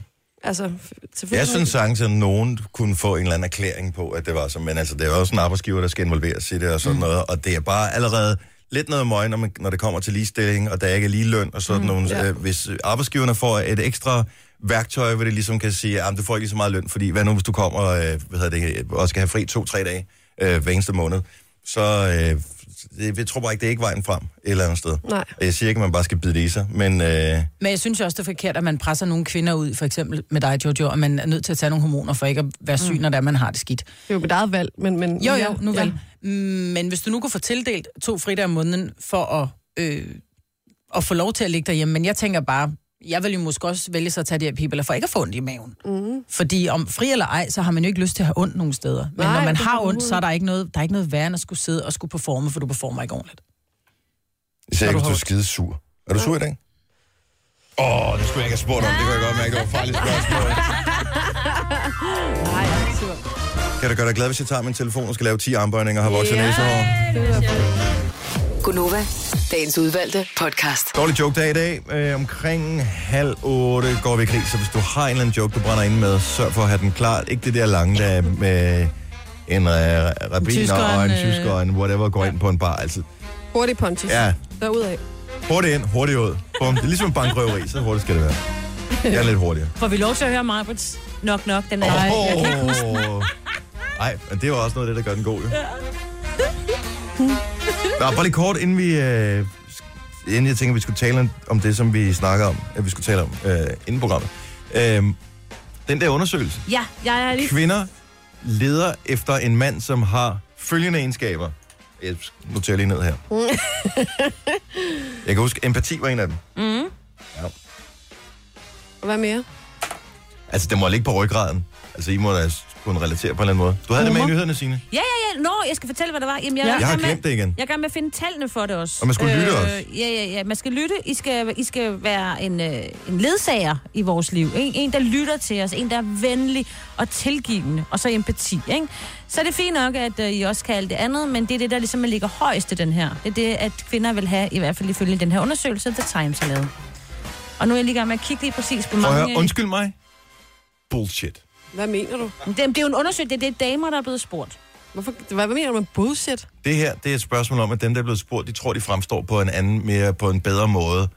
Altså, f- selvfølgelig. Jeg synes sagtens, at nogen kunne få en eller anden erklæring på, at det var sådan, men altså, det er jo også en arbejdsgiver, der skal involveres i det og sådan noget, og det er bare allerede lidt noget møg, når, man, når det kommer til ligestilling, og der ikke er lige løn og sådan mm, nogle. Ja. Hvis arbejdsgiverne får et ekstra værktøj, hvor det ligesom kan sige, at du får ikke lige så meget løn, fordi hvad nu, hvis du kommer og, øh, hvad hedder det, og skal have fri to-tre dage øh, hver eneste måned, så øh, det, jeg tror bare ikke, det er ikke vejen frem et eller andet sted. Nej. Og Jeg siger ikke, at man bare skal bide det i sig, men... Øh, Men jeg synes jo også, det er forkert, at man presser nogle kvinder ud, for eksempel med dig, Jojo, og man er nødt til at tage nogle hormoner for ikke at være syg, når det er, man har det skidt. Det er jo mit eget valg, men... men Jo, men jo, Mm. ja, nu vel. Ja. Ja. Men hvis du nu kunne få tildelt to fridage om måneden for at, øh, at få lov til at ligge derhjemme, men jeg tænker bare, jeg vil jo måske også vælge så at tage de her p-piller for ikke at få ondt i maven. Mm. Fordi om fri eller ej, så har man jo ikke lyst til at have ondt nogen steder. Men Nej, når man det har kan du ondt, så er der ikke noget, der er ikke noget værre end at skulle sidde og skulle performe, for du performer ikke ordentligt. Især Har ikke, hvis du er du holdt? skide sur. Er du sur i dag? Åh, oh, det skulle jeg ikke have spurgt om. Det kunne jeg godt mærke, det var et farligt spørgsmål. Nej, jeg er ikke sur. Kan det gøre dig glad, hvis jeg tager min telefon og skal lave 10 armbøjninger og har vokset yeah. Gunova, dagens udvalgte podcast. Dårlig joke dag i dag. Øh, omkring halv otte går vi i krig, så hvis du har en eller anden joke, du brænder ind med, sørg for at have den klar. Ikke det der lange, der er med en øh, rabiner tysker, og en en, øh, tysker og en whatever går ind på en bar. Altså, Hurtig pontis. ja, Derudaf. hurtigt ind, hurtigt ud. Bum. Det er ligesom en bankrøveri, så hurtigt skal det være. Jeg er lidt hurtigere. Får vi lov til at høre Marbrits? Nok, nok, den er... Åh. Ej, men det er jo også noget af det, der gør den god, jo. Nå, bare lige kort, inden vi... Øh, sk- inden jeg tænker, vi skulle tale om det, som vi snakker om, at vi skulle tale om øh, inden programmet. Øh, den der undersøgelse. Ja, jeg er lige... Kvinder leder efter en mand, som har følgende egenskaber. Jeg noterer lige ned her. jeg kan huske, empati var en af dem. Og hvad mere? Altså, det må ligge på ryggraden. Altså, I må da kunne relatere på en eller anden måde. Du havde det med i Humor. nyhederne, Signe. Ja, ja, ja. Nå, jeg skal fortælle, hvad der var. Jamen, jeg, Ja. er i Jeg har gang med- glemt det igen. Jeg er i gang med at finde tallene for det også. Øh, Og man skulle lytte også. Ja, ja, ja. Man skal lytte. I skal, I skal være en, øh, en ledsager i vores liv. En, en, der lytter til os. En, der er venlig og tilgivende. Og så empati, ikke? Så er det fint nok, at øh, I også kan alt det andet, men det er det, der ligesom ligger højst i den her. Det er det, at kvinder vil have, i hvert fald ifølge den her undersøgelse, The Times har lavet. Og nu er jeg lige i gang med at kigge lige præcis på Prøv at mange... høre, undskyld mig. Bullshit. Hvad mener du? det, det er jo en undersøgelse, det er det damer, der er blevet spurgt. Hvorfor, hvad, hvad mener du med bullshit? Det her, det er et spørgsmål om, at dem, der er blevet spurgt, de tror, de fremstår på en anden, mere på en bedre måde.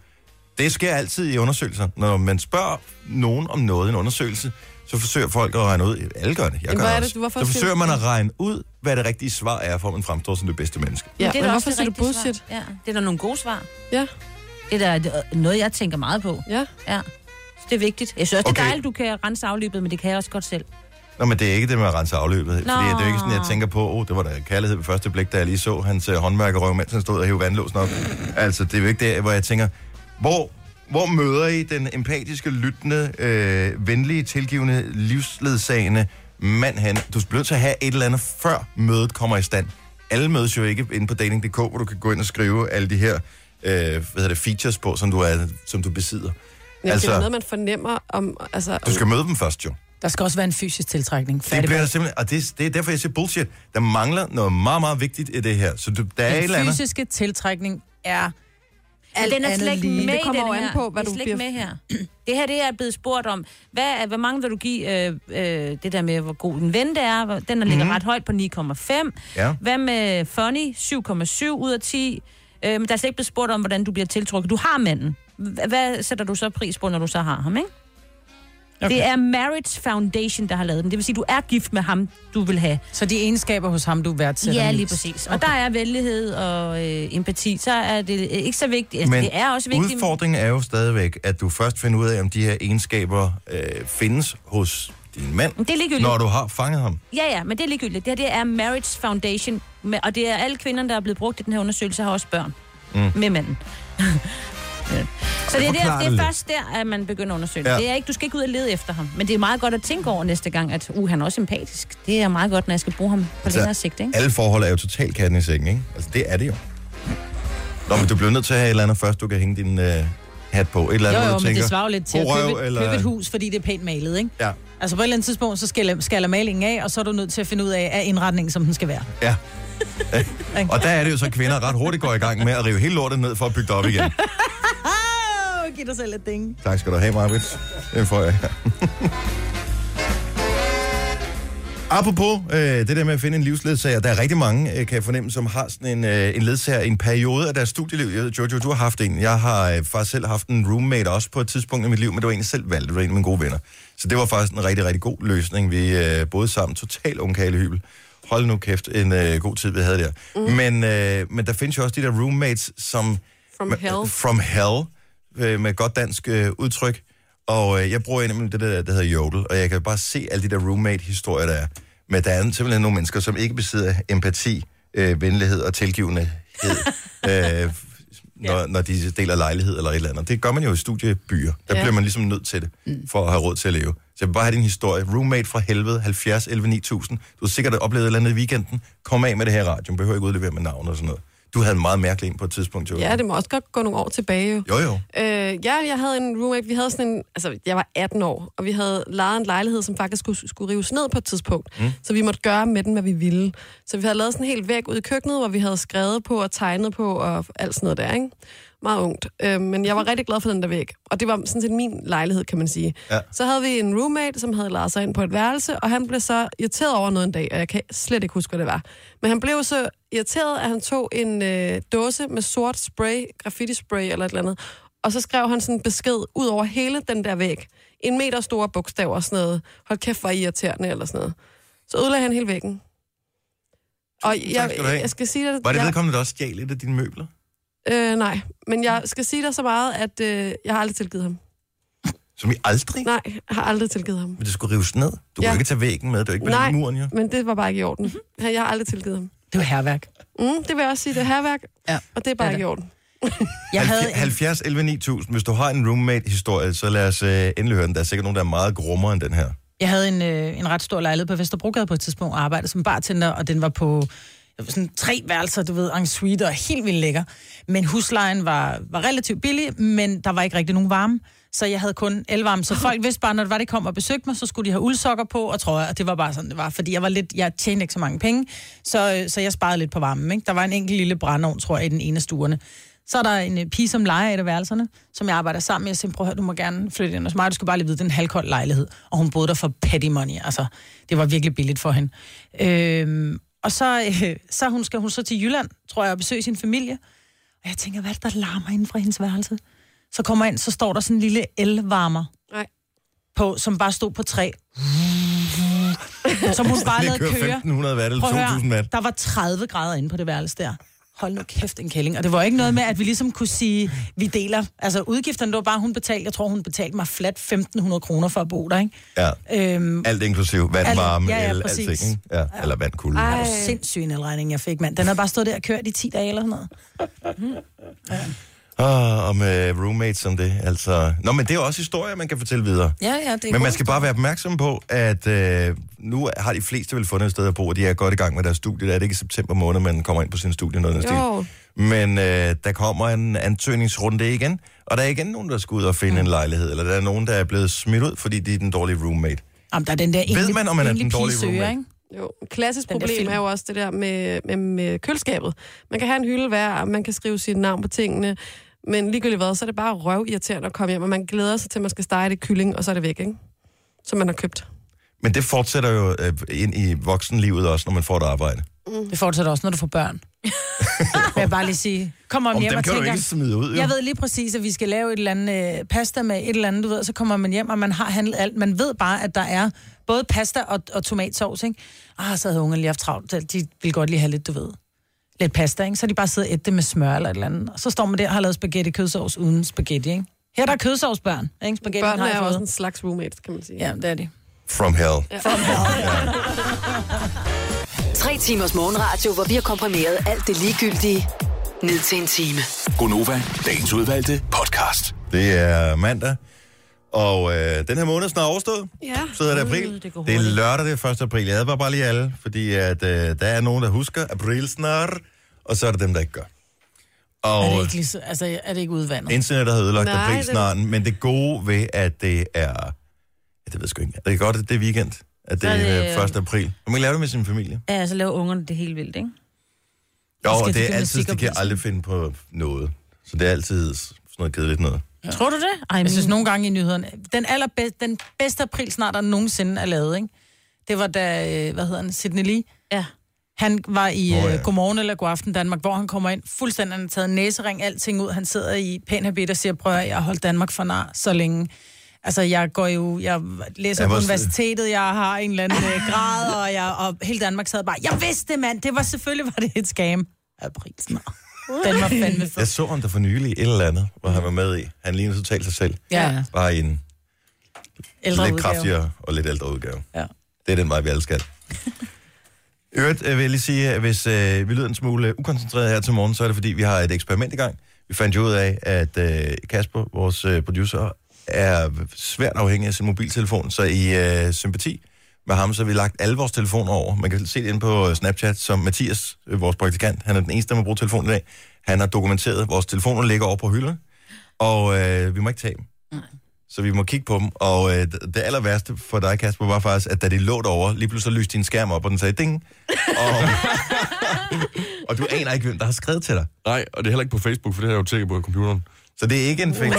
Det sker altid i undersøgelser. Når man spørger nogen om noget i en undersøgelse, så forsøger folk at regne ud. Alle gør det. Jeg Jamen, gør hvad er det, det, også. hvorfor Så siger forsøger du man det? at regne ud, hvad det rigtige svar er, for at man fremstår som det bedste menneske. Ja, det er men da hvorfor det siger du rigtige bullshit? Svar. Ja, det er der nogle gode svar. Ja, Det er da øh, noget, jeg tænker meget på. ja. Ja. Så det er vigtigt. Jeg synes også, det Okay. er dejligt, du kan rense afløbet, men det kan jeg også godt selv. Nå, men det er ikke det med at rense afløbet. Fordi det er jo ikke sådan, jeg Nå. tænker på, oh, det var da kærlighed ved første blik, da jeg lige så hans uh, håndværkerøv, mens han stod og hævde vandlåsen op. Altså, det er jo ikke der, hvor jeg tænker, hvor, hvor møder I den empatiske, lyttende, øh, venlige, tilgivende, livsledsagende mand hen? Du bliver nødt til at have et eller andet, før mødet kommer i stand. Alle mødes jo ikke inde på dating.dk, hvor du kan gå ind og skrive alle de her øh, hvad hedder det, features på, som du, er, som du besidder. Jamen, altså, det er jo noget, Altså, man fornemmer om... Altså, du om- skal møde dem først, jo. Der skal også være en fysisk tiltrækning. Det Færdig. bliver der simpelthen, og det, det er derfor, jeg siger bullshit. Der mangler noget meget, meget vigtigt i det her. Så du, der er et eller Den andet. fysiske tiltrækning er Alt alt den er andet slet ikke lige. med Det kommer jo i den an her. på, hvad det er du slet bliver- ikke med her. Det her, det er blevet spurgt om. Hvad, er- hvor mange vil du give øh, øh, det der med, hvor god en ven det er? Hvor- Den er ligger ret højt på 9,5. Ja. Hvad med funny? 7,7 ud af 10. Øh, men der er slet ikke blevet spurgt om, hvordan du bliver tiltrukket. Du har manden. Hva- Hvad sætter du så pris på, når du så har ham, ikke? Okay. Det er Marriage Foundation, der har lavet den. Det vil sige, du er gift med ham, du vil have. Så de egenskaber hos ham, du værdsætter Ja, lige mest. præcis. Og der er venlighed og øh, empati. Så er det øh, ikke så vigtigt. Altså, Men det er også vigtigt. udfordringen er jo stadigvæk, at du først finder ud af, om de her egenskaber øh, findes hos din mand, Men det er ligegyldigt. når du har fanget ham. Ja, ja, men det er ligegyldigt. Det her det er Marriage Foundation, med- og det er alle kvinder, der er blevet brugt i den her undersøgelse, har også børn mm. med manden. Så det er, der, forklarer det det er først der, at man begynder at undersøge det. Ja. Ja. det er ikke, du skal ikke ud og lede efter ham. Men det er meget godt at tænke over næste gang, at uh, han er også sympatisk. Det er meget godt, når jeg skal bruge ham på Altså, længere sigt. Ikke? Alle forhold er jo totalt katten i sengen, ikke? Altså, det er det jo. Nå, men du bliver nødt til at have et eller andet først, du kan hænge din øh, hat på. Et eller andet, Jo, hvor jo, du men tænker, det svarer jo lidt til at "God røv," købe, eller... købe et hus, fordi det er pænt malet, ikke? Ja, Altså på et eller andet tidspunkt, så skal, skal malingen af, og så er du nødt til at finde ud af, af indretningen, som den skal være. ja. og der er det jo så, at kvinder ret hurtigt går i gang med at rive hele lortet ned for at bygge det op igen. Åh, giv dig selv et ding. Tak skal du have, Marvitt. Det får jeg. Apropos øh, det der med at finde en livsledsager, der er rigtig mange, øh, kan jeg fornemme, som har sådan en, øh, en ledsager i en periode af deres studieliv. Jeg ved, Jojo, du har haft en. Jeg har øh, faktisk selv haft en roommate også på et tidspunkt i mit liv, men det var en, jeg selv valgte. Det var en af mine gode venner. Så det var faktisk en rigtig, rigtig god løsning. Vi øh, boede sammen, totalt ungkalehybel. Hold nu kæft, en øh, god tid, vi havde der. Mm. Men, øh, men der findes jo også de der roommates, som... From Ma- hell. From hell, øh, med godt dansk øh, udtryk. Og øh, jeg bruger nemlig det der, der hedder Jodel, og jeg kan bare se alle de der roommate-historier, der er. Men der er simpelthen nogle mennesker, som ikke besidder empati, øh, venlighed og tilgivenhed, øh, når, når de deler lejlighed eller et eller andet. Det gør man jo i studiebyer. Der ja. Ja. bliver man ligesom nødt til det, for at have råd til at leve. Så jeg vil bare have din historie. Roommate fra helvede, 70 11 9000. Du har sikkert oplevet et eller andet i weekenden. Kom af med det her i radioen. Behøver ikke udlevere med navn og sådan noget. Du havde en meget mærkelig en på et tidspunkt, jo. Ja, det må også godt gå nogle år tilbage jo. Jo, jo. Øh, ja, jeg havde en roommate, vi havde sådan en, altså jeg var 18 år, og vi havde lejet en lejlighed, som faktisk skulle, skulle rives ned på et tidspunkt, mm. så vi måtte gøre med den, hvad vi ville. Så vi havde lavet sådan en hel væg ude i køkkenet, hvor vi havde skrevet på og tegnet på og alt sådan noget der, ikke? Meget ungt. Øh, men jeg var rigtig glad for den der væg, og det var sådan set min lejlighed, kan man sige. Ja. Så havde vi en roommate, som havde lejet sig ind på et værelse, og han blev så irriteret over noget en dag, og jeg kan slet ikke huske, hvad det var. Men han blev så irriteret, at han tog en øh, dåse med sort spray, graffiti-spray eller et eller andet, og så skrev han sådan en besked ud over hele den der væg. En meter store bogstaver og sådan noget. Hold kæft, hvor irriterende eller sådan noget. Så ødelagde han hele væggen. Og jeg, skal du have. jeg, jeg skal sige dig... Var det jeg, vedkommende, der også stjal et af dine møbler? øh, nej, men jeg skal sige dig så meget, at øh, jeg har aldrig tilgivet ham. Som I aldrig? Nej, jeg har aldrig tilgivet ham. Men det skulle rives ned. Du ja. Ja. kunne ikke tage væggen med. Det var ikke med Nej, i muren, Mhm. jo. men det var bare ikke i orden. Han- Jeg har aldrig tilgivet ham. Det var herværk. Mm, det vil jeg også sige, det er herværk, Ja, og det er bare det er ikke i orden. Jeg havde 70 11 9000. Hvis du har en roommate-historie, så lad os øh, endelig høre den. Der er sikkert nogen, der er meget grummere end den her. Jeg havde en, øh, en ret stor lejlighed på Vesterbrogade på et tidspunkt og arbejdede som bartender, og den var på øh, sådan tre værelser, du ved, en suite og helt vildt lækker. Men huslejen var, var relativt billig, men der var ikke rigtig nogen varme, så jeg havde kun elvarme. Så folk vidste bare, når det var, de kom og besøgte mig, så skulle de have uldsokker på og trøjer, og det var bare sådan, det var. Fordi jeg var lidt, jeg tjente ikke så mange penge, så, øh, så jeg sparede lidt på varmen. Ikke? Der var en enkelt lille brændeovn, tror jeg, i den ene af stuerne. Så er der en øh, pige, som leger i et af værelserne, som jeg arbejder sammen med. Jeg siger, prøv at høre, du må gerne flytte ind hos mig. Du skal bare lige vide, det er en halvkold lejlighed. Og hun boede der for petty money. Altså, det var virkelig billigt for hende. Øhm, og så, øh, så hun, skal hun så til Jylland, tror jeg, og besøge sin familie. Og jeg tænker, hvad er det, der larmer inden fra hendes værelse? Så kommer jeg ind, så står der sådan en lille elvarmer Nej. på, som bare stod på træ. Som hun bare Det lavede kører køre. 1500 watt eller Prøv at 2000 høre, watt. der var 30 grader inde på det værelse der. Hold nu kæft, en kælling. Og det var ikke noget med, at vi ligesom kunne sige, vi deler. Altså udgifterne, det var bare, hun betalte, jeg tror, hun betalte mig flat 1.500 kroner for at bo der, ikke? Ja. Øhm, Alt inklusiv vand, Alt- varme, ja, ja, el, præcis. alting. ikke? Ja, eller vandkulde. det var sindssyg en elregning, jeg fik, mand. Den havde bare stået der og kørt i 10 dage eller sådan noget. Ah, og med roommates som det, altså... Nå, men det er jo også historier, man kan fortælle videre. Ja, ja, det er Men man skal bare være opmærksom på, at øh, nu har de fleste vel fundet et sted at bo, og de er godt i gang med deres studie. Er det ikke i september måned, man kommer ind på sin studie? Noget af den Jo. stil. Men øh, der kommer en ansøgningsrunde igen, og der er igen nogen, der skal ud og finde mm. en lejlighed, eller der er nogen, der er blevet smidt ud, fordi de er den dårlige roommate. Jamen, der er den der enlig- man, om man er den enlig pige dårlige søger, roommate? ikke? Jo, et klassisk Den der problem film. er jo også det der med, med, med køleskabet. Man kan have en hylde hver, og man kan skrive sit navn på tingene, men ligegyldigt hvad, så er det bare røvirriterende at komme hjem, og man glæder sig til, at man skal stege det kylling, og så er det væk, ikke? Som man har købt. Men det fortsætter jo øh, ind i voksenlivet også, når man får et arbejde. Det fortsætter også, når du får børn. Vil jeg bare lige sige. Kom om, Om hjem dem og kan du tænker, ikke smide ud, jo. Jeg ved lige præcis, at vi skal lave et eller andet øh, pasta med et eller andet, du ved, og så kommer man hjem, og man har handlet alt. Man ved bare, at der er både pasta og, og tomatsovs, ikke? Ah, så havde ungerne lige haft travlt. De ville godt lige have lidt, du ved, lidt pasta, ikke? Så har de bare sidder og ædt det med smør eller et eller andet. Og så står man der og har lavet spaghetti kødsovs uden spaghetti, ikke? Her er der kødsovsbørn, ikke? Spaghetti Børnene har jeg er jo fået. også en slags roommates, kan man sige. Ja, det er de. From hell. Ja. Tre timers morgenradio, hvor vi har komprimeret alt det ligegyldige ned til en time. Gonova, dagens udvalgte podcast. Det er mandag, og øh, den her måned er snart overstået. Ja. Så er det april. Uh, det går det er hurtigt. lørdag, det er 1. april. Jeg advarer bare lige alle, fordi at, øh, der er nogen, der husker april snart, og så er det dem, der ikke gør. Og Er det ikke, lige så, altså, er det ikke udvandet? internettet har ødelagt Nej, april det- snart, men det gode ved, at det er... Ja, det ved jeg sgu ikke. Det er godt, at det er weekend, at det Så er det, er øh, 1. april. Og man laver det med sin familie. Ja, så laver ungerne det helt vildt, ikke? Jo, skal og de det er finde altid, de kan musikoplevelsen? aldrig finde på noget. Så det er altid sådan noget kedeligt noget. Ja. Tror du det? Ej, Jeg synes nogle gange i nyhederne, den, allerbedste, den bedste april snart, der nogensinde er lavet, ikke? Det var da, øh, hvad hedder han, Sidney Lee, Ja. han var i Nå, oh, ja. ja. Godmorgen eller Godaften Danmark, hvor han kommer ind fuldstændig, han har taget næsering, alting ud, han sidder i pæn habit og siger, prøv at høre, jeg har holdt Danmark for nar så længe. Altså, jeg går jo, jeg læser Jeg på var- universitetet, jeg har en eller anden øh, grad, og, jeg, og hele Danmark sad bare, jeg vidste det, mand, det var selvfølgelig, var det et scam. April snart. Den var fandme fed. Jeg så ham der for nylig i et eller andet, hvor han var med i. Han ligner totalt sig selv. Ja, ja. Bare i en ældre lidt udgave. kraftigere og lidt ældre udgave. Ja. Det er den vej, vi alle skal. I øvrigt øh, vil jeg lige sige, at hvis øh, vi lyder en smule ukoncentreret her til morgen, så er det fordi, vi har et eksperiment i gang. Vi fandt jo ud af, at øh, Kasper, vores øh, producer, er svært afhængig af sin mobiltelefon, så i øh, sympati med ham, så har vi lagt alle vores telefoner over. Man kan se det inde på øh, Snapchat, som Mathias, øh, vores praktikant, han er den eneste, der må bruge telefonen i dag. Han har dokumenteret, at vores telefoner ligger over på hylden, og øh, vi må ikke tage dem. Så vi må kigge på dem, og øh, det- det aller værste for dig, Kasper, var faktisk, at da de lå derovre, lige pludselig så lyste din skærm op, og den sagde ding. Og, og du aner ikke, hvem der har skrevet til dig. Nej, og det er heller ikke på Facebook, for det har jeg jo tjekket på computeren. Så det er ikke en fing.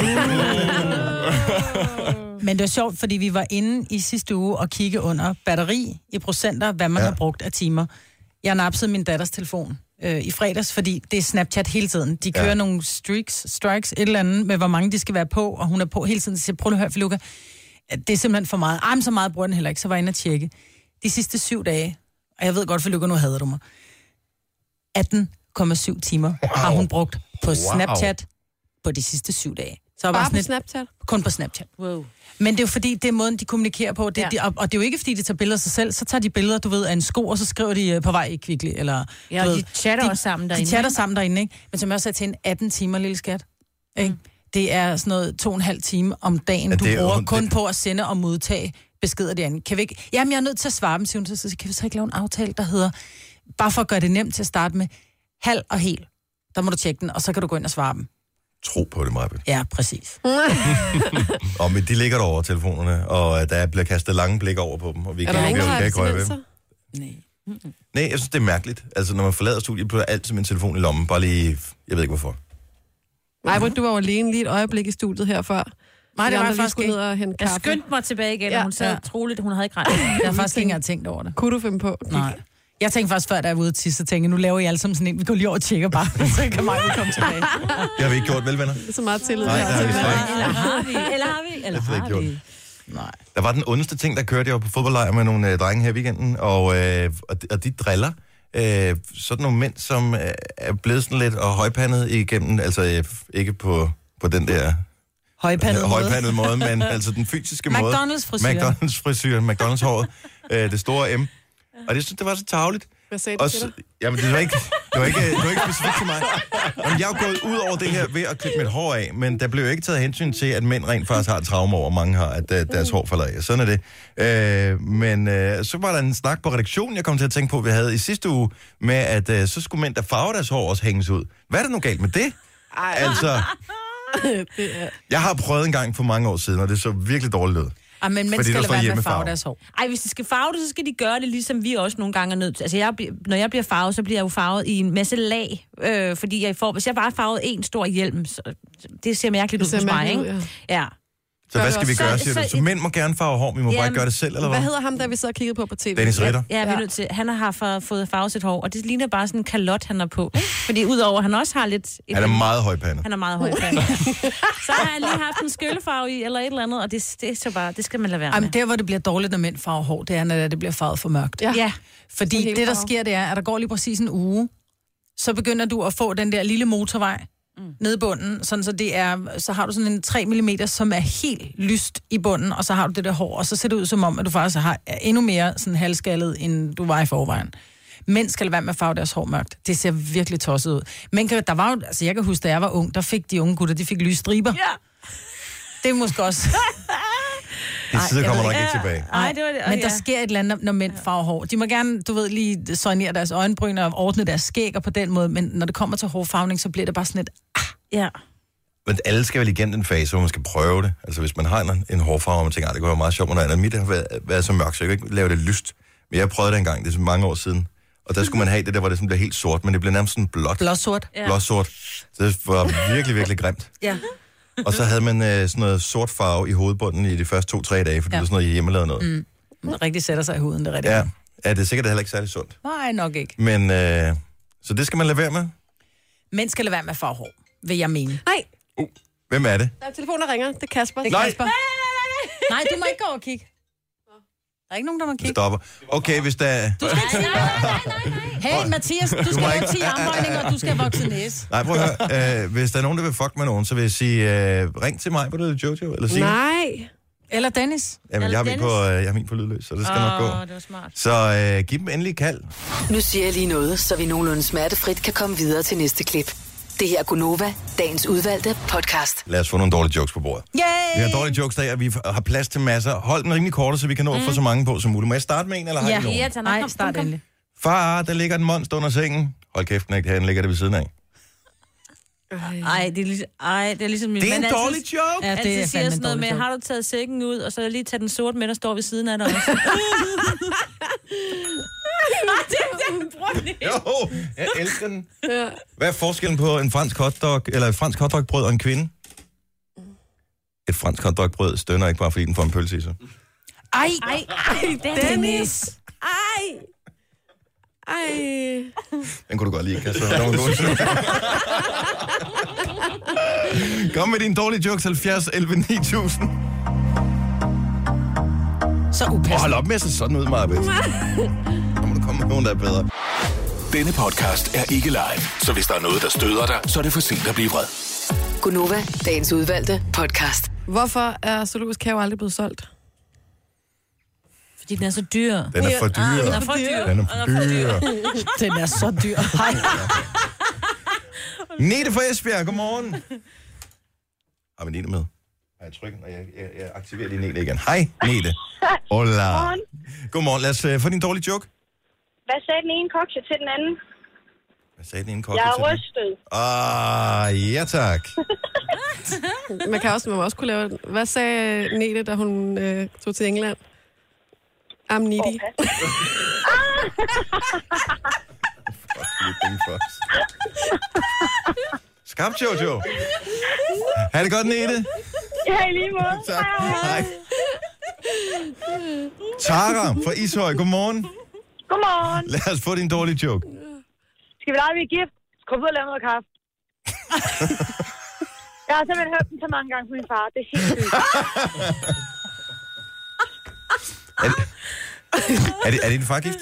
Men det var sjovt, fordi vi var inde i sidste uge og kigge under batteri i procenter, hvad man Ja. ja. har brugt af timer. Jeg napsede min datters telefon øh, i fredags, fordi det er Snapchat hele tiden. De kører Ja. ja. nogle streaks, strikes, et eller andet, med hvor mange de skal være på, og hun er på hele tiden. Så siger, jeg, prøv lige at høre, Filuka, det er simpelthen for meget. Ej, men så meget bruger den heller ikke, så var jeg inde og tjekke. De sidste syv dage, og jeg ved godt, Filuka, nu hader du mig, 18,7 timer wow. har hun brugt på Snapchat på de sidste syv dage. Så jeg var Bare sådan på lidt- Snapchat. kun på Snapchat. Wow. Men det er jo fordi, det er måden, de kommunikerer på. Det, ja. Ja. de, og, og det er jo ikke, fordi de tager billeder af sig selv. Så tager de billeder, du ved, af en sko, og så skriver de øh, på vej i Kvickly. Eller, Ja, du og ved, de chatter også sammen derinde, De chatter ikke? sammen derinde, ikke? Men som jeg også sagde til en 18 timer, lille skat. Ikke? Mm. Det er sådan noget to og en halv time om Ja, dagen, ja, du det er jo- bruger det- kun på at sende og modtage beskeder derinde. Kan vi ikke... Jamen, jeg er nødt til at svare dem, siger hun. Så siger, jeg, kan vi så ikke lave en aftale, der hedder, bare for at gøre det nemt til at starte med, halv og hel. Der må du tjekke den, og så kan du gå ind og svare dem. Tro på det, Marbe. Ja, præcis. Og men de ligger derovre, telefonerne, og øh, der bliver kastet lange blik over på dem, og vi Er kan der vi nogen, der kan har ikke røre ved abstinenser? dem. Nej, jeg synes, det er mærkeligt. Altså, når man forlader studiet, bliver der altid min telefon i lommen. Bare lige, jeg ved ikke hvorfor. Maja, du var jo alene lige et øjeblik i studiet her før. Nej, Vi det var andre jeg lige faktisk skulle ikke. ned og hente Jeg kaffe. skyndte mig tilbage igen, ja. Ja. og hun sad Ja. ja. troligt, hun havde ikke ret. Jeg har faktisk ikke engang tænkt over det. Kunne du finde på? Nej. Jeg tænkte faktisk før, da jeg var ude til, så tænkte jeg, nu laver I alle sammen sådan en, vi går lige over og tjekker bare, så kan mig komme tilbage. Det har vi ikke gjort, vel, venner? Så meget tillid. Nej, her det har til vi mig. slet Eller har vi? Eller har vi? Eller Det har jeg har ikke vi? Nej. Der var den ondeste ting, der kørte jeg var på fodboldlejr med nogle øh, drenge her i weekenden, og, øh, og, de, og de driller øh, sådan nogle mænd, som øh, er blevet sådan lidt og højpandet igennem, altså øh, ikke på, på den der Højpandet måde. højpandede måde, men altså den fysiske måde. McDonald's-frisyren. McDonald's frisyren, McDonald's håret, øh, det store M. Og det synes det var så tageligt. Hvad sagde de Og til så, dig? jamen, det var ikke, det var ikke, det var ikke specifikt til mig. Jamen, jeg er jo gået ud over det her ved at klippe mit hår af, men der blev jo ikke taget hensyn til, at mænd rent faktisk har et traume over, mange har, at øh, deres hår falder af. Sådan er det. Øh, men øh, så var der en snak på redaktionen, jeg kom til at tænke på, vi havde i sidste uge, med at øh, så skulle mænd, der farver deres hår, også hænges ud. Hvad er der nu galt med det? Ej. Altså, jeg har prøvet en gang for mange år siden, og det så virkelig dårligt ud. Ej, men Fordi mænd der skal lade står være med at hjemmefarve. farve deres hår. Ej, hvis de skal farve det, så skal de gøre det, ligesom vi også nogle gange er nødt til. Altså, jeg, bliver- når jeg bliver farvet, så bliver jeg jo farvet i en masse lag. Øh, fordi jeg får, hvis jeg bare har farvet en stor hjelm, så det ser mærkeligt Det ud ser hos mig, mærkeligt ud, ikke? Ja. Så Gør hvad det skal vi også. gøre, Så- siger du? så Så et- mænd må gerne farve hår, vi må bare Jamen, ikke gøre det selv, eller hvad? Hvad hedder ham, der vi sad og kiggede på på tv? Dennis Ritter. Ja, vi er nødt til. Han har fa- fået farvet sit hår, og det ligner bare sådan en kalot, han har på. ikke? Fordi udover, at han også har lidt... et- Han er meget højpandet. han er meget høj fan. så har han lige haft en skøllefarve i, eller et eller andet, og det, det, er så bare, det skal man lade være med. Jamen, der, hvor det bliver dårligt, når mænd farver hår, det er, når det bliver farvet for mørkt. Ja. Ja, Fordi Så det, hele der farven. sker, det er, at der går lige præcis en uge, så begynder du at få den der lille motorvej mm. nede i bunden, sådan så, det er, så har du sådan en 3 mm, som er helt lyst i bunden, og så har du det der hår, og så ser det ud som om, at du faktisk har er endnu mere sådan halvskaldet, end du var i forvejen. Mænd skal lade være med at farve deres hår mørkt. Det ser virkelig tosset ud. Men kan- der var jo, altså jeg kan huske, da jeg var ung, der fik de unge gutter, de fik lyse striber. ja. Det er måske også... De tider jeg kommer ved nok ikke tilbage. Nej, det var det. Men der sker et eller andet, når mænd farver hår. De må gerne, du ved, lige soignere deres øjenbryn og ordne deres skæg og på den måde, men når det kommer til hårfarvning, så bliver det bare sådan et... Ja. Men alle skal vel igennem den fase, hvor man skal prøve det. Altså hvis man har en, en hårfarve, og man tænker, "Ej, det kunne være meget sjovt, når mit har været, været så mørkt, så jeg kan ikke lave det lyst. Men jeg prøvede det engang, det er så mange år siden. Og der skulle man have det der, hvor det sådan blev helt sort, men det blev nærmest sådan blåt. Blåsort. ja. blåsort. Så det var virkelig, virkelig grimt. Ja. Og så havde man øh, sådan noget sort farve i hovedbunden i de første to-tre dage, fordi ja. Ja. det var sådan noget hjemmelavet noget. Mm. Rigtig sætter sig i huden, det er rigtigt. Ja. ja, det er sikkert heller ikke særlig sundt. Nej, nok ikke. Men, øh, så det skal man lade være med. Mænd skal lade være med at farve hår, vil jeg mene. Nej, Hvem er det? der er telefoner der ringer. Det er Kasper. Det er Nej. Kasper. Nej, du må ikke gå over og kigge. Der er ikke nogen, der må Vi kigge. stopper. Okay, hvis der... Du skal ikke sige, hey Mathias, du skal have 10 armbøjninger, og du skal vokse næse. Nej, prøv at høre. Øh, hvis der er nogen, der vil fuck med nogen, så vil jeg sige, øh, ring til mig på det Jojo, eller sige, Nej. Eller Dennis. jamen, jeg har min Dennis. på, øh, jeg har min på lydløs, så det skal nok gå. det var smart. Så øh, giv dem endelig et kald. Nu siger jeg lige noget, så vi nogenlunde smertefrit kan komme videre til næste klip. Det her er Gunova, dagens udvalgte podcast. Lad os få nogle dårlige jokes på bordet. Vi har Yay! dårlige jokes der, og vi har plads til masser. Hold dem rimelig korte, så vi kan nå at få så mange på som muligt. Må jeg starte med en, eller har I nogen? Ja, tak. Nej, start endelig. Far, der ligger en monster under sengen. Hold kæft, den er ikke her, den ligger det ved siden af. Ej, det er ligesom, ej, det er ligesom min Det er en mand altid- dårlig joke! Ja, det altid er siger fandme sådan en noget med, dårlig har du taget sækken ud, og så lige tage den sorte med, der står ved siden af dig også. Ej, det er den brugte. Jo, jeg elsker den. Ja. Hvad er forskellen på en fransk hotdog, eller et fransk hotdogbrød og en kvinde? Et fransk hotdogbrød stønner ikke bare, fordi den får en pølse i sig. Ej, Ej, ej, Dennis. Ej. Ej. Den kunne du godt lide, Kasper. Den var god. Kom med dine dårlige jokes, 70 11 9000. så Og upassende. hold op med at se sådan ud, Marbet. Nu må du komme med nogen, der er bedre. Denne podcast er ikke live, så hvis der er noget, der støder dig, så er det for sent at blive vred. Gunova, dagens udvalgte podcast. Hvorfor er zoologisk have aldrig blevet solgt? Fordi den er så dyr. Den er for dyr. Den er for dyr. Den er for dyr. Den er så dyr. Ej. Nete fra Esbjerg, godmorgen. Har vi Nete med? Har jeg trykket? Jeg, jeg, jeg aktiverer lige Nete igen. Hej, Nete. Hola. Godmorgen. Godmorgen. Lad os uh, få din dårlige joke. Hvad sagde den ene kokse til den anden? Hvad sagde den ene Jeg kokke er til den? rystet. Ah, ja tak. Man kan også, man må også kunne lave den. Hvad sagde Nete, da hun øh, tog til England? I'm needy. Lidt penge for os. Skarp, Jojo. Ha' det godt, Nete. Ja, i lige måde. Tak. Hej. Tara fra Ishøj, godmorgen. Godmorgen. Lad os få din dårlige joke. Skal vi lege, vi er gift? Kom ud og lave noget kaffe. jeg har simpelthen hørt den så mange gange fra min far. Det er helt sygt. Er det, er det, er det en fargift?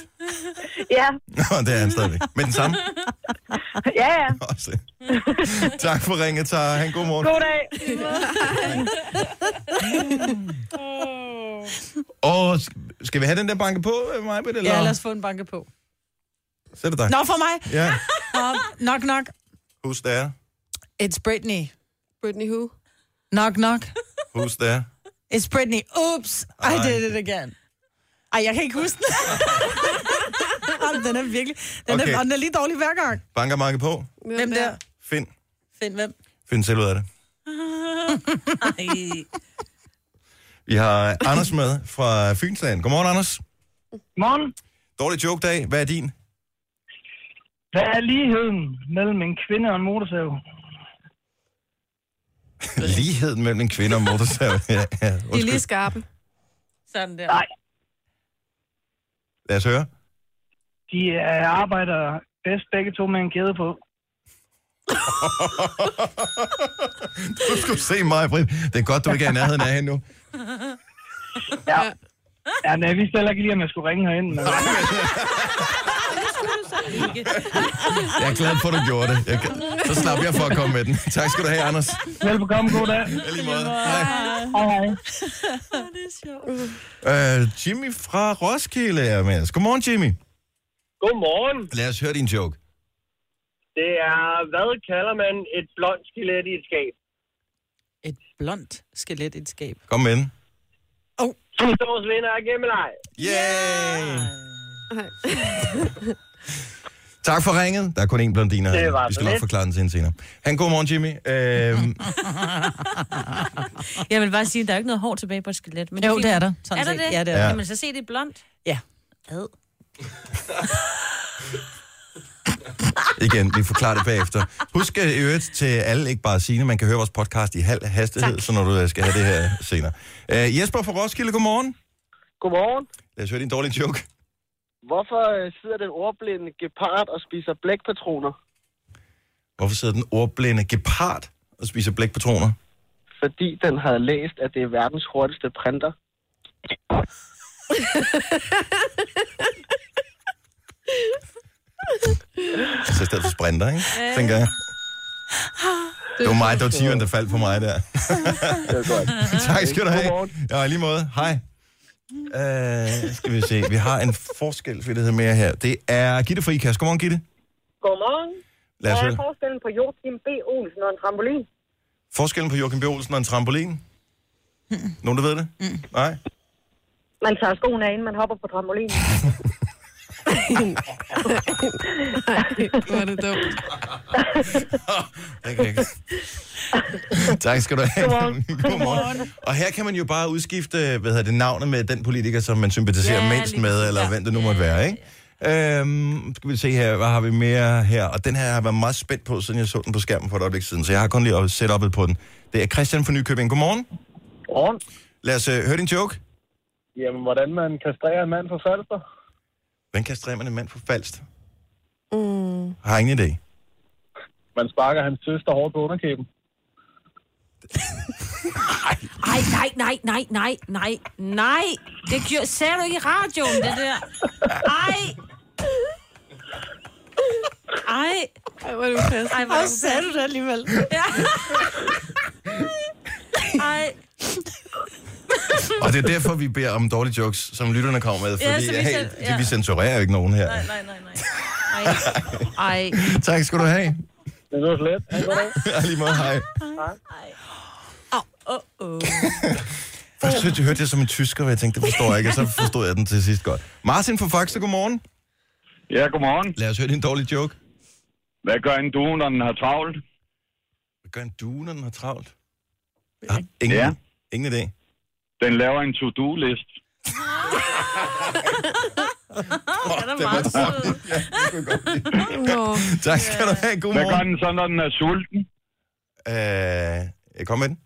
Ja, Nå, det er han stadigvæk. Men den samme? ja, ja. Også. tak for ringet, Tara. Ha' en god morgen. God dag. Og sk- skal vi have den der banke på, Majbet? Eller? Ja, lad os få en banke på. Så er det dig. Nå, for mig. Ja, Nå, Knock, knock. who's there? It's Britney. Britney who? Knock, knock. Who's there? It's Britney. Oops, I Ej. did it again. Ej, jeg kan ikke huske den. Jamen, den er virkelig... Den, okay. Okay. er, og den er lige dårlig hver gang. Banker Marke på. Hvem der? Find. Find hvem. Find selv ud af det. Ej. Vi har Anders med fra Fynsland. Godmorgen, Anders. Morgen. Dårlig joke-dag. Hvad er din? Hvad er ligheden mellem en kvinde og en motorsav? Ligheden mellem en kvinde og motorsav. ja, ja. De er Undskyld. lige skarpe. Sådan der. Nej. Lad os høre. De øh, arbejder bedst begge to med en kæde på. Du skulle se mig, Britt. Det er godt, du ikke er i nærheden af hende nu. Ja. Ja, men jeg vidste heller ikke lige, om jeg skulle ringe herind. Men... Jeg er glad for, at du gjorde det. Jeg, så slap jeg for at komme med den. Tak skal du have, Anders. Velbekomme, god dag. Ja, lige måde. Hej. Hej, hej. Øh, Jimmy fra Roskilde er med os. Godmorgen, Jimmy. Godmorgen. Lad os høre din joke. Det er, hvad kalder man et blondt skelet i et skab? Et blondt skelet i et skab. Kom med den. Tusårsvinder er Gemini. Yay! Tak for ringet. Der er kun én blondiner. Det her. var Vi skal så nok lidt. forklare den til hende senere. Han, god morgen, Jimmy. Øhm, Jeg vil bare sige, at der er ikke noget hår tilbage på et skelet. Men Jo, fint. det er der, sådan Er der set. det? Ja, det er der. Kan man så se, det er blondt? Ja. Ad. igen, vi forklarer det bagefter. Husk øh, i øvrigt til alle, ikke bare Signe, man kan høre vores podcast i halv hastighed, tak. så når du øh, skal have det her senere. Øh, Jesper fra Roskilde, god morgen. Godmorgen. Lad os høre din dårlige joke. Hvorfor øh, sidder den ordblinde gepard og spiser blækpatroner? Hvorfor sidder den ordblinde gepard og spiser blækpatroner? Fordi den havde læst, at det er verdens hurtigste printer. Så Altså i stedet for sprinter, ikke? Øh. Tænker jeg. Ah. Det var mig, det var tigeren, der faldt på mig der. Det var godt. tak skal du have. Godmorgen. Ja, i lige måde. Hej. Øh, skal vi se. Vi har en forskel, mere her. Det er Gitte fra IKAS. Godmorgen, Gitte. Godmorgen. Lad os Hvad høre. er forskellen på Joachim B. Olsen og en trampolin? Forskellen på Joachim B. Olsen og en trampolin? Nogen, der ved det? Nej? Man tager skoen af, inden man hopper på trampolin. Hvor er det dumt. Det kan jeg ikke. tak skal du have. Godmorgen. Godmorgen. Og her kan man jo bare udskifte hvad hedder det, navnet med den politiker, som man sympatiserer Ja, ja, mindst lige med, præcis. eller Ja. hvem det nu måtte være, ikke? Øhm, skal vi se her, hvad har vi mere her? Og den her har jeg været meget spændt på, siden jeg så den på skærmen for et øjeblik siden, så jeg har kun lige set op på den. Det er Christian fra Nykøbing. Godmorgen. Godmorgen. Lad os uh, høre din joke. Jamen, hvordan man kastrerer en mand for salter? Hvordan kastrerer man en mand for falst? Mm. Har ingen idé. Man sparker hans søster hårdt på underkæben. Ej, nej, nej, nej, nej, nej, nej. Det gjorde, sagde du ikke i radioen, det der. Ej. Ej. Ej, hvor er det fast. Ej, hvor sagde du det alligevel? Ja. Ej. Og det er derfor, vi beder om dårlige jokes, som lytterne kommer med, fordi Ja, ja, så vi vi, selv- hey, ja. vi censurerer jo ikke nogen her. Nej, nej, nej, nej. Ej. Ej. Tak skal du have. Det er så slet. Ha' en god dag. Ja, lige måde, hej. Åh, oh, oh. Først synes jeg, hørte jeg som en tysker, og jeg tænkte, det forstår jeg ikke, og så forstod jeg den til sidst godt. Martin fra Faxe, godmorgen. Ja, godmorgen. Lad os høre din dårlige joke. Hvad gør en due, når den har travlt? Hvad gør en due, når den har travlt? Ja, ingen, Ja. ingen idé. Den laver en to-do-list. Den er meget sød. Nå. Tak skal du have, Hvad gør godmorgen. den så, når den er sulten? Øh, jeg kom med den.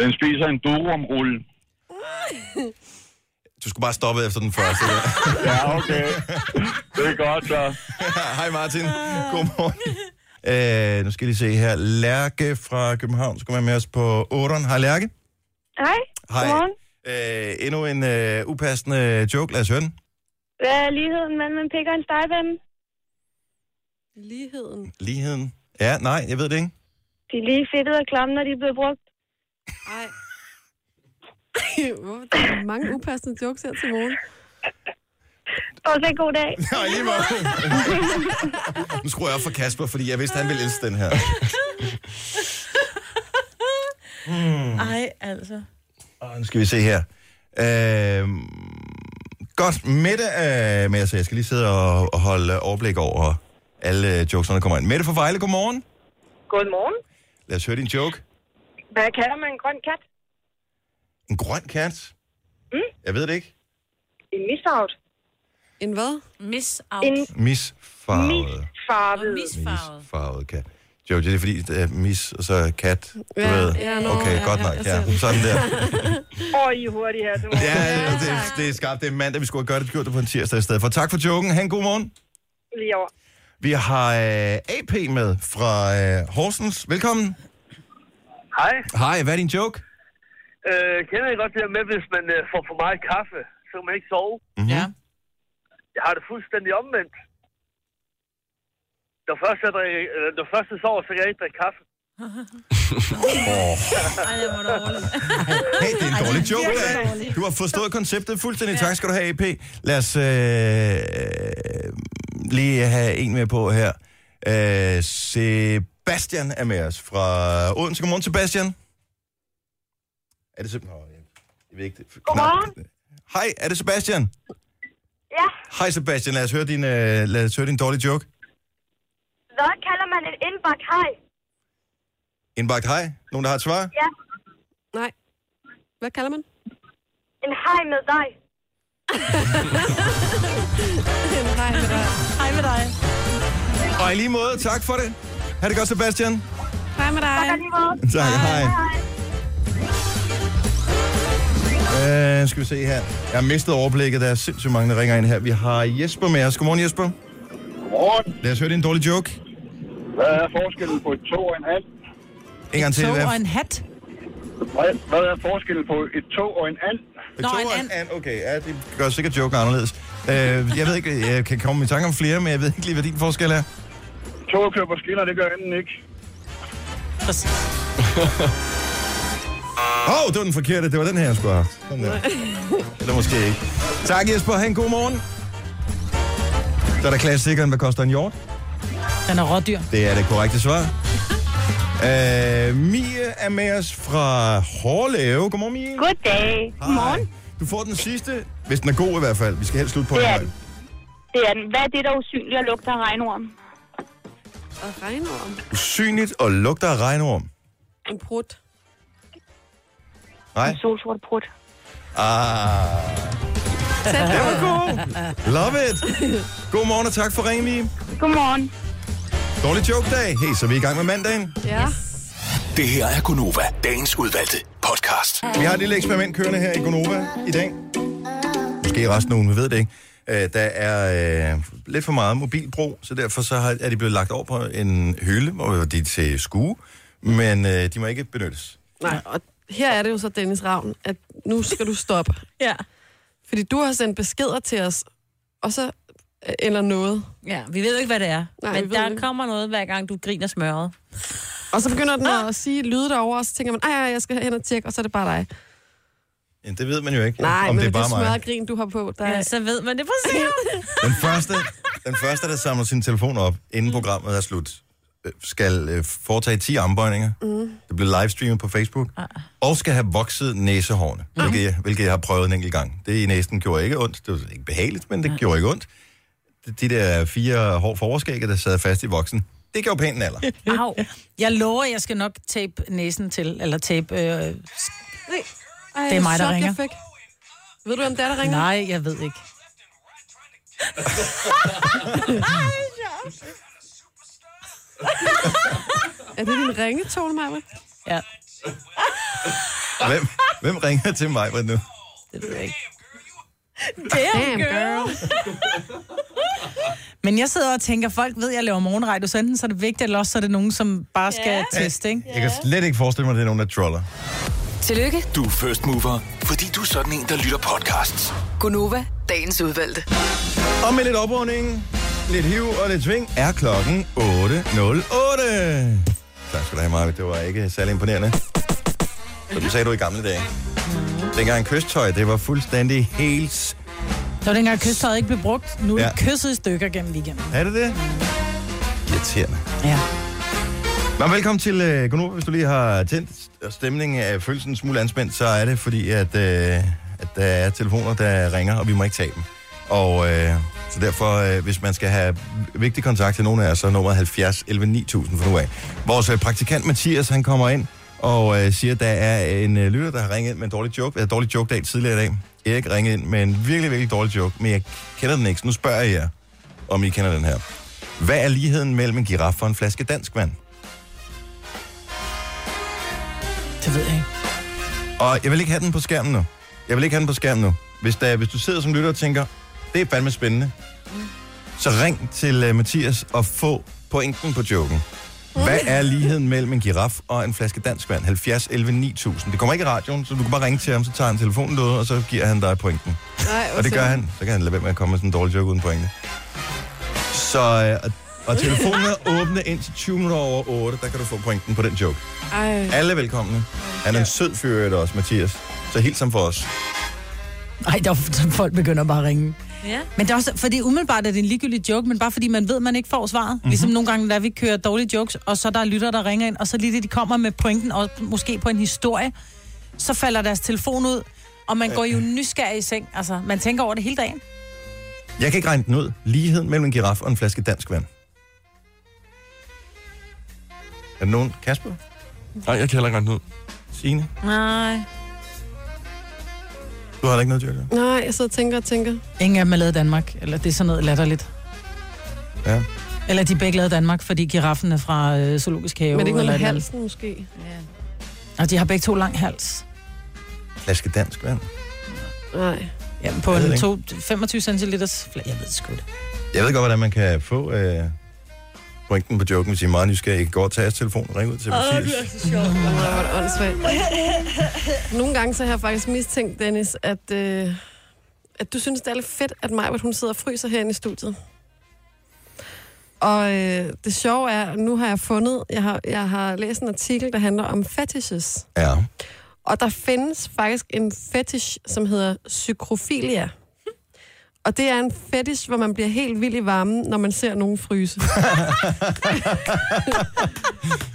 Den spiser en durumrulle. Du skulle bare stoppe efter den første. der. Ja, okay. Det er godt, så. Hej Martin, godmorgen. Øh, nu skal jeg lige se her. Lærke fra København skal være med os på 8'eren. Hej Lærke. Hej. Hej. Godmorgen. Øh, endnu en øh, upassende joke. Lad os høre den. Hvad er ligheden mellem en pik og en stegepande? Ligheden. Ligheden. Ja, nej, jeg ved det ikke. De er lige fedtet og klamme, når de er blevet brugt. Ej. Ej, Hvorfor der er mange upassende jokes her til morgen? Også en god dag. Nej, lige meget. nu skruer jeg op for Kasper, fordi jeg vidste, han ville elske den her. Ej, altså. Og nu skal vi se her. Øh, godt middag øh, med os. Jeg skal lige sidde og, og holde overblik over alle øh, jokeserne, der kommer ind. Mette fra Vejle, godmorgen. Godmorgen. Lad os høre din joke. Hvad kalder man en grøn kat? En grøn kat. Mm. Jeg ved det ikke. En misfarvet. En hvad? Miss En out. Misfarvet. Og misfarvet. misfarvet. Misfarvet kat. Jo, det er fordi, det er mis og så kat. Du Ja, ved. ja, nå, Okay, ja, godt ja, nok. jeg ser Ja, den. sådan der. Og I er hurtige her til morgen. Ja, det, det, det er skarpt. Det er mandag, vi skulle have gjort det, vi gjorde det på en tirsdag i stedet for. Tak for joken. Ha' en god morgen. Lige over. Vi har øh, AP med fra øh, Horsens. Velkommen. Hej. Hej, hvad er din joke? Øh, kender I godt det her med, hvis man øh, får for meget kaffe, så kan man ikke sove? Mm-hmm. Ja. Jeg har det fuldstændig omvendt. Når først jeg, drikker, eller, når først jeg sover, så kan jeg ikke drikke kaffe. Ej, jeg må da overleve. Hey, det er en dårlig joke. Dan. Du har forstået konceptet fuldstændig. Tak skal du have, AP. Lad os øh, lige have en med på her. Øh, Øh, Sebastian er med os fra Odense. Godmorgen, Sebastian. Er det simpelthen... Jeg ved ikke... det- Godmorgen. knap- Hej, er det Sebastian? Ja, Hej Sebastian, lad os høre din, øh, lad os høre din dårlige joke. hvad kalder man en indbagt hej? Indbagt hej. Nogen, der har et svar? Ja, Nej. Hvad kalder man? en hej med dig. Hej med dig. Hej med dig. Og i lige måde, tak for det. Ha' det godt, Sebastian. Hej med dig. Tak, hej. hej. Øh, skal vi se her. Jeg har mistet overblikket. Der er sindssygt mange, der ringer ind her. Vi har Jesper med os. Godmorgen, Jesper. Godmorgen. Lad os høre din dårlige joke. Hvad er forskellen på et tog og en hat? En gang til. Tog Hvad- og en hat. Hvad- Hvad er forskellen på et tog og en and? Et tog og en and. Okay, ja, det gør sikkert joken anderledes. Øh, jeg ved ikke, jeg kan komme i tanke om flere, men jeg ved ikke lige, hvad din forskel er. Toget kører på skinner, det gør anden ikke. Åh, oh, det var den forkerte. Det var den her, jeg skulle have haft. Den der. Eller måske ikke. Tak Jesper, ha' en god morgen. Så er der klassikeren, hvad koster en hjort? Den er rådyr. Det er det korrekte svar. Øh, Mie er med os fra Hårlave. Godmorgen, Mie. Goddag. Godmorgen. Du får den sidste, hvis den er god i hvert fald. Vi skal helst slutte på Det en er høj. den. Det er den. Hvad er det, der er usynligt og lugter af regnorm? Og regnorm. Usynligt og lugter af regnorm. En prut. Nej? En solsort prut. Ah. Tæt Det på. var god. Love it. God morgen og tak for ringen, Mie. Godmorgen. Dårlig joke dag. Hey, så er vi i gang med mandagen. Ja. Det her er Gunova, dagens udvalgte podcast. Vi har et lille eksperiment kørende her i Gonova i dag. Måske i resten af ugen, vi ved det ikke. Øh, der er øh, lidt for meget mobilbrug, så derfor så har, er de blevet lagt over på en hylde, hvor de er til skue, men øh, de må ikke benyttes. Nej, og her er det jo så, Dennis Ravn, at nu skal du stoppe. ja. Fordi du har sendt beskeder til os, og så... øh, Eller noget. Ja, vi ved jo ikke, hvad det er. Nej, Nej, vi men ved der ikke. kommer noget, hver gang du griner smørret. Og så begynder den at sige lyde derovre, og så tænker man, ej, ej, jeg skal hen og tjekke, og så er det bare dig. Ja, det ved man jo ikke, Nej, om men det er bare det mig. smørret grin, du har på. Der... Ja, så ved man det præcis. Den første, den første, der samler sin telefon op, inden programmet er slut, øh, skal øh, foretage 10 armbøjninger. Mm. Det bliver livestreamet på Facebook. Og skal have vokset næsehårene, hvilket, jeg, hvilket jeg har prøvet en enkelt gang. Det i næsen gjorde ikke ondt. Det var ikke behageligt, men det gjorde ikke ondt. De- De der fire hår forårskægge, der sad fast i voksen, det gav pænt en alder. Au. Jeg lover, jeg skal nok tape næsen til, eller tape... Øh, Nej. Ej, Det er mig, der chok, ringer. Jeg fik. Ved du, om det er, der ringer? nej, jeg ved ikke. Er det din ringetone, Maja? Ja. Hvem, hvem ringer til mig nu? Det ved jeg ikke. Damn, girl. Men jeg sidder og tænker, folk ved, at jeg laver morgenradio, så enten så er det vigtigt, eller også så er det nogen, som bare skal Ja. teste, ikke? Jeg kan slet ikke forestille mig, at det er nogen, der troller. Tillykke, Du er first mover, fordi du er sådan en, der lytter podcasts. Gunova, dagens udvalgte. Og med lidt oprunding, lidt hiv og lidt sving, er klokken 8.08. Tak skal du have, Marvind. Det var ikke særlig imponerende. Som du sagde du i gamle dage. Dengang kysttøj, det var fuldstændig helt... Det var dengang kysttøjet ikke blev brugt. Nu er det Ja. kysset i stykker gennem weekenden. Er det det? Irriterende. Ja. Nå, velkommen til øh, Gunova. Hvis du lige har tændt og stemningen er følelsen en smule anspændt, så er det fordi, at, øh, at der er telefoner, der ringer, og vi må ikke tage dem. Og øh, så derfor, øh, hvis man skal have vigtig kontakt til nogen af jer, så er nummeret 70 11 9000 for nu af. Vores øh, praktikant Mathias, han kommer ind og øh, siger, at der er en øh, lytter, der har ringet ind med en dårlig joke. Jeg havde dårlig joke dag tidligere i dag. Erik ringede ind med en virkelig, virkelig dårlig joke, men jeg kender den ikke, så nu spørger jeg jer, om I kender den her. Hvad er ligheden mellem en giraf og en flaske dansk vand? Det ved jeg ikke. Og jeg vil ikke have den på skærmen nu. Jeg vil ikke have den på skærmen nu. Hvis, der, hvis du sidder som lytter og tænker, det er fandme spændende, så ring til uh, Mathias og få pointen på joken. Hvad er ligheden mellem en giraf og en flaske dansk vand? 70 11 9000. Det kommer ikke i radioen, så du kan bare ringe til ham, så tager han telefonen ud, og så giver han dig pointen. Nej, Og det gør han. Så kan han lade være med at komme med sådan en dårlig joke uden pointe. Så, øh, og, og telefonen er åbne indtil 20 minutter over 8, der kan du få pointen på den joke. Ej. Alle er velkomne. Han er en sød fyr, i øvrigt også, Mathias. Så helt som for os. Ej, der er, folk begynder bare at ringe. Ja. Men det er også, fordi umiddelbart er det en ligegyldig joke, men bare fordi man ved, at man ikke får svaret. Mm-hmm. Ligesom nogle gange, da vi kører dårlige jokes, og så er der lytter, der ringer ind, og så lige det, de kommer med pointen, og måske på en historie, så falder deres telefon ud, og man går jo nysgerrig i seng. Altså, man tænker over det hele dagen. Jeg kan ikke regne den ud. Ligheden mellem en giraf og en flaske dansk vand. Er der nogen? Kasper? Nej, jeg kan heller ikke regne den ud. Signe? Nej. Du har heller ikke noget, Jørgen? Nej, jeg sidder og tænker og tænker. Ingen af dem er lavet i Danmark, eller det er sådan noget latterligt. Ja. Eller de er begge lavet i Danmark, fordi giraffen er fra øh, zoologisk have. Men det er ikke noget eller med et eller halsen, måske. Ja. andet. Og de har begge to lang hals. Flaske dansk vand. Nej. Jamen, på Jeg ved en det to, 25 cm flag. Jeg ved det sgu det. Jeg ved godt, hvordan man kan få øh, pointen på joken, hvis I er meget nysgerrige. I kan godt tage jeres telefon og ringe ud til Mathias. er så sjovt. Hvor er det åndssvagt. Nogle gange så har jeg faktisk mistænkt, Dennis, at, øh, at du synes, det er lidt fedt, at Majbert, hun sidder og fryser herinde i studiet. Og øh, det sjove er, at nu har jeg fundet, jeg har, jeg har læst en artikel, der handler om fetishes. Ja. Og der findes faktisk en fetish, som hedder psykrofilia. Og det er en fetish, hvor man bliver helt vild i varmen, når man ser nogen fryse.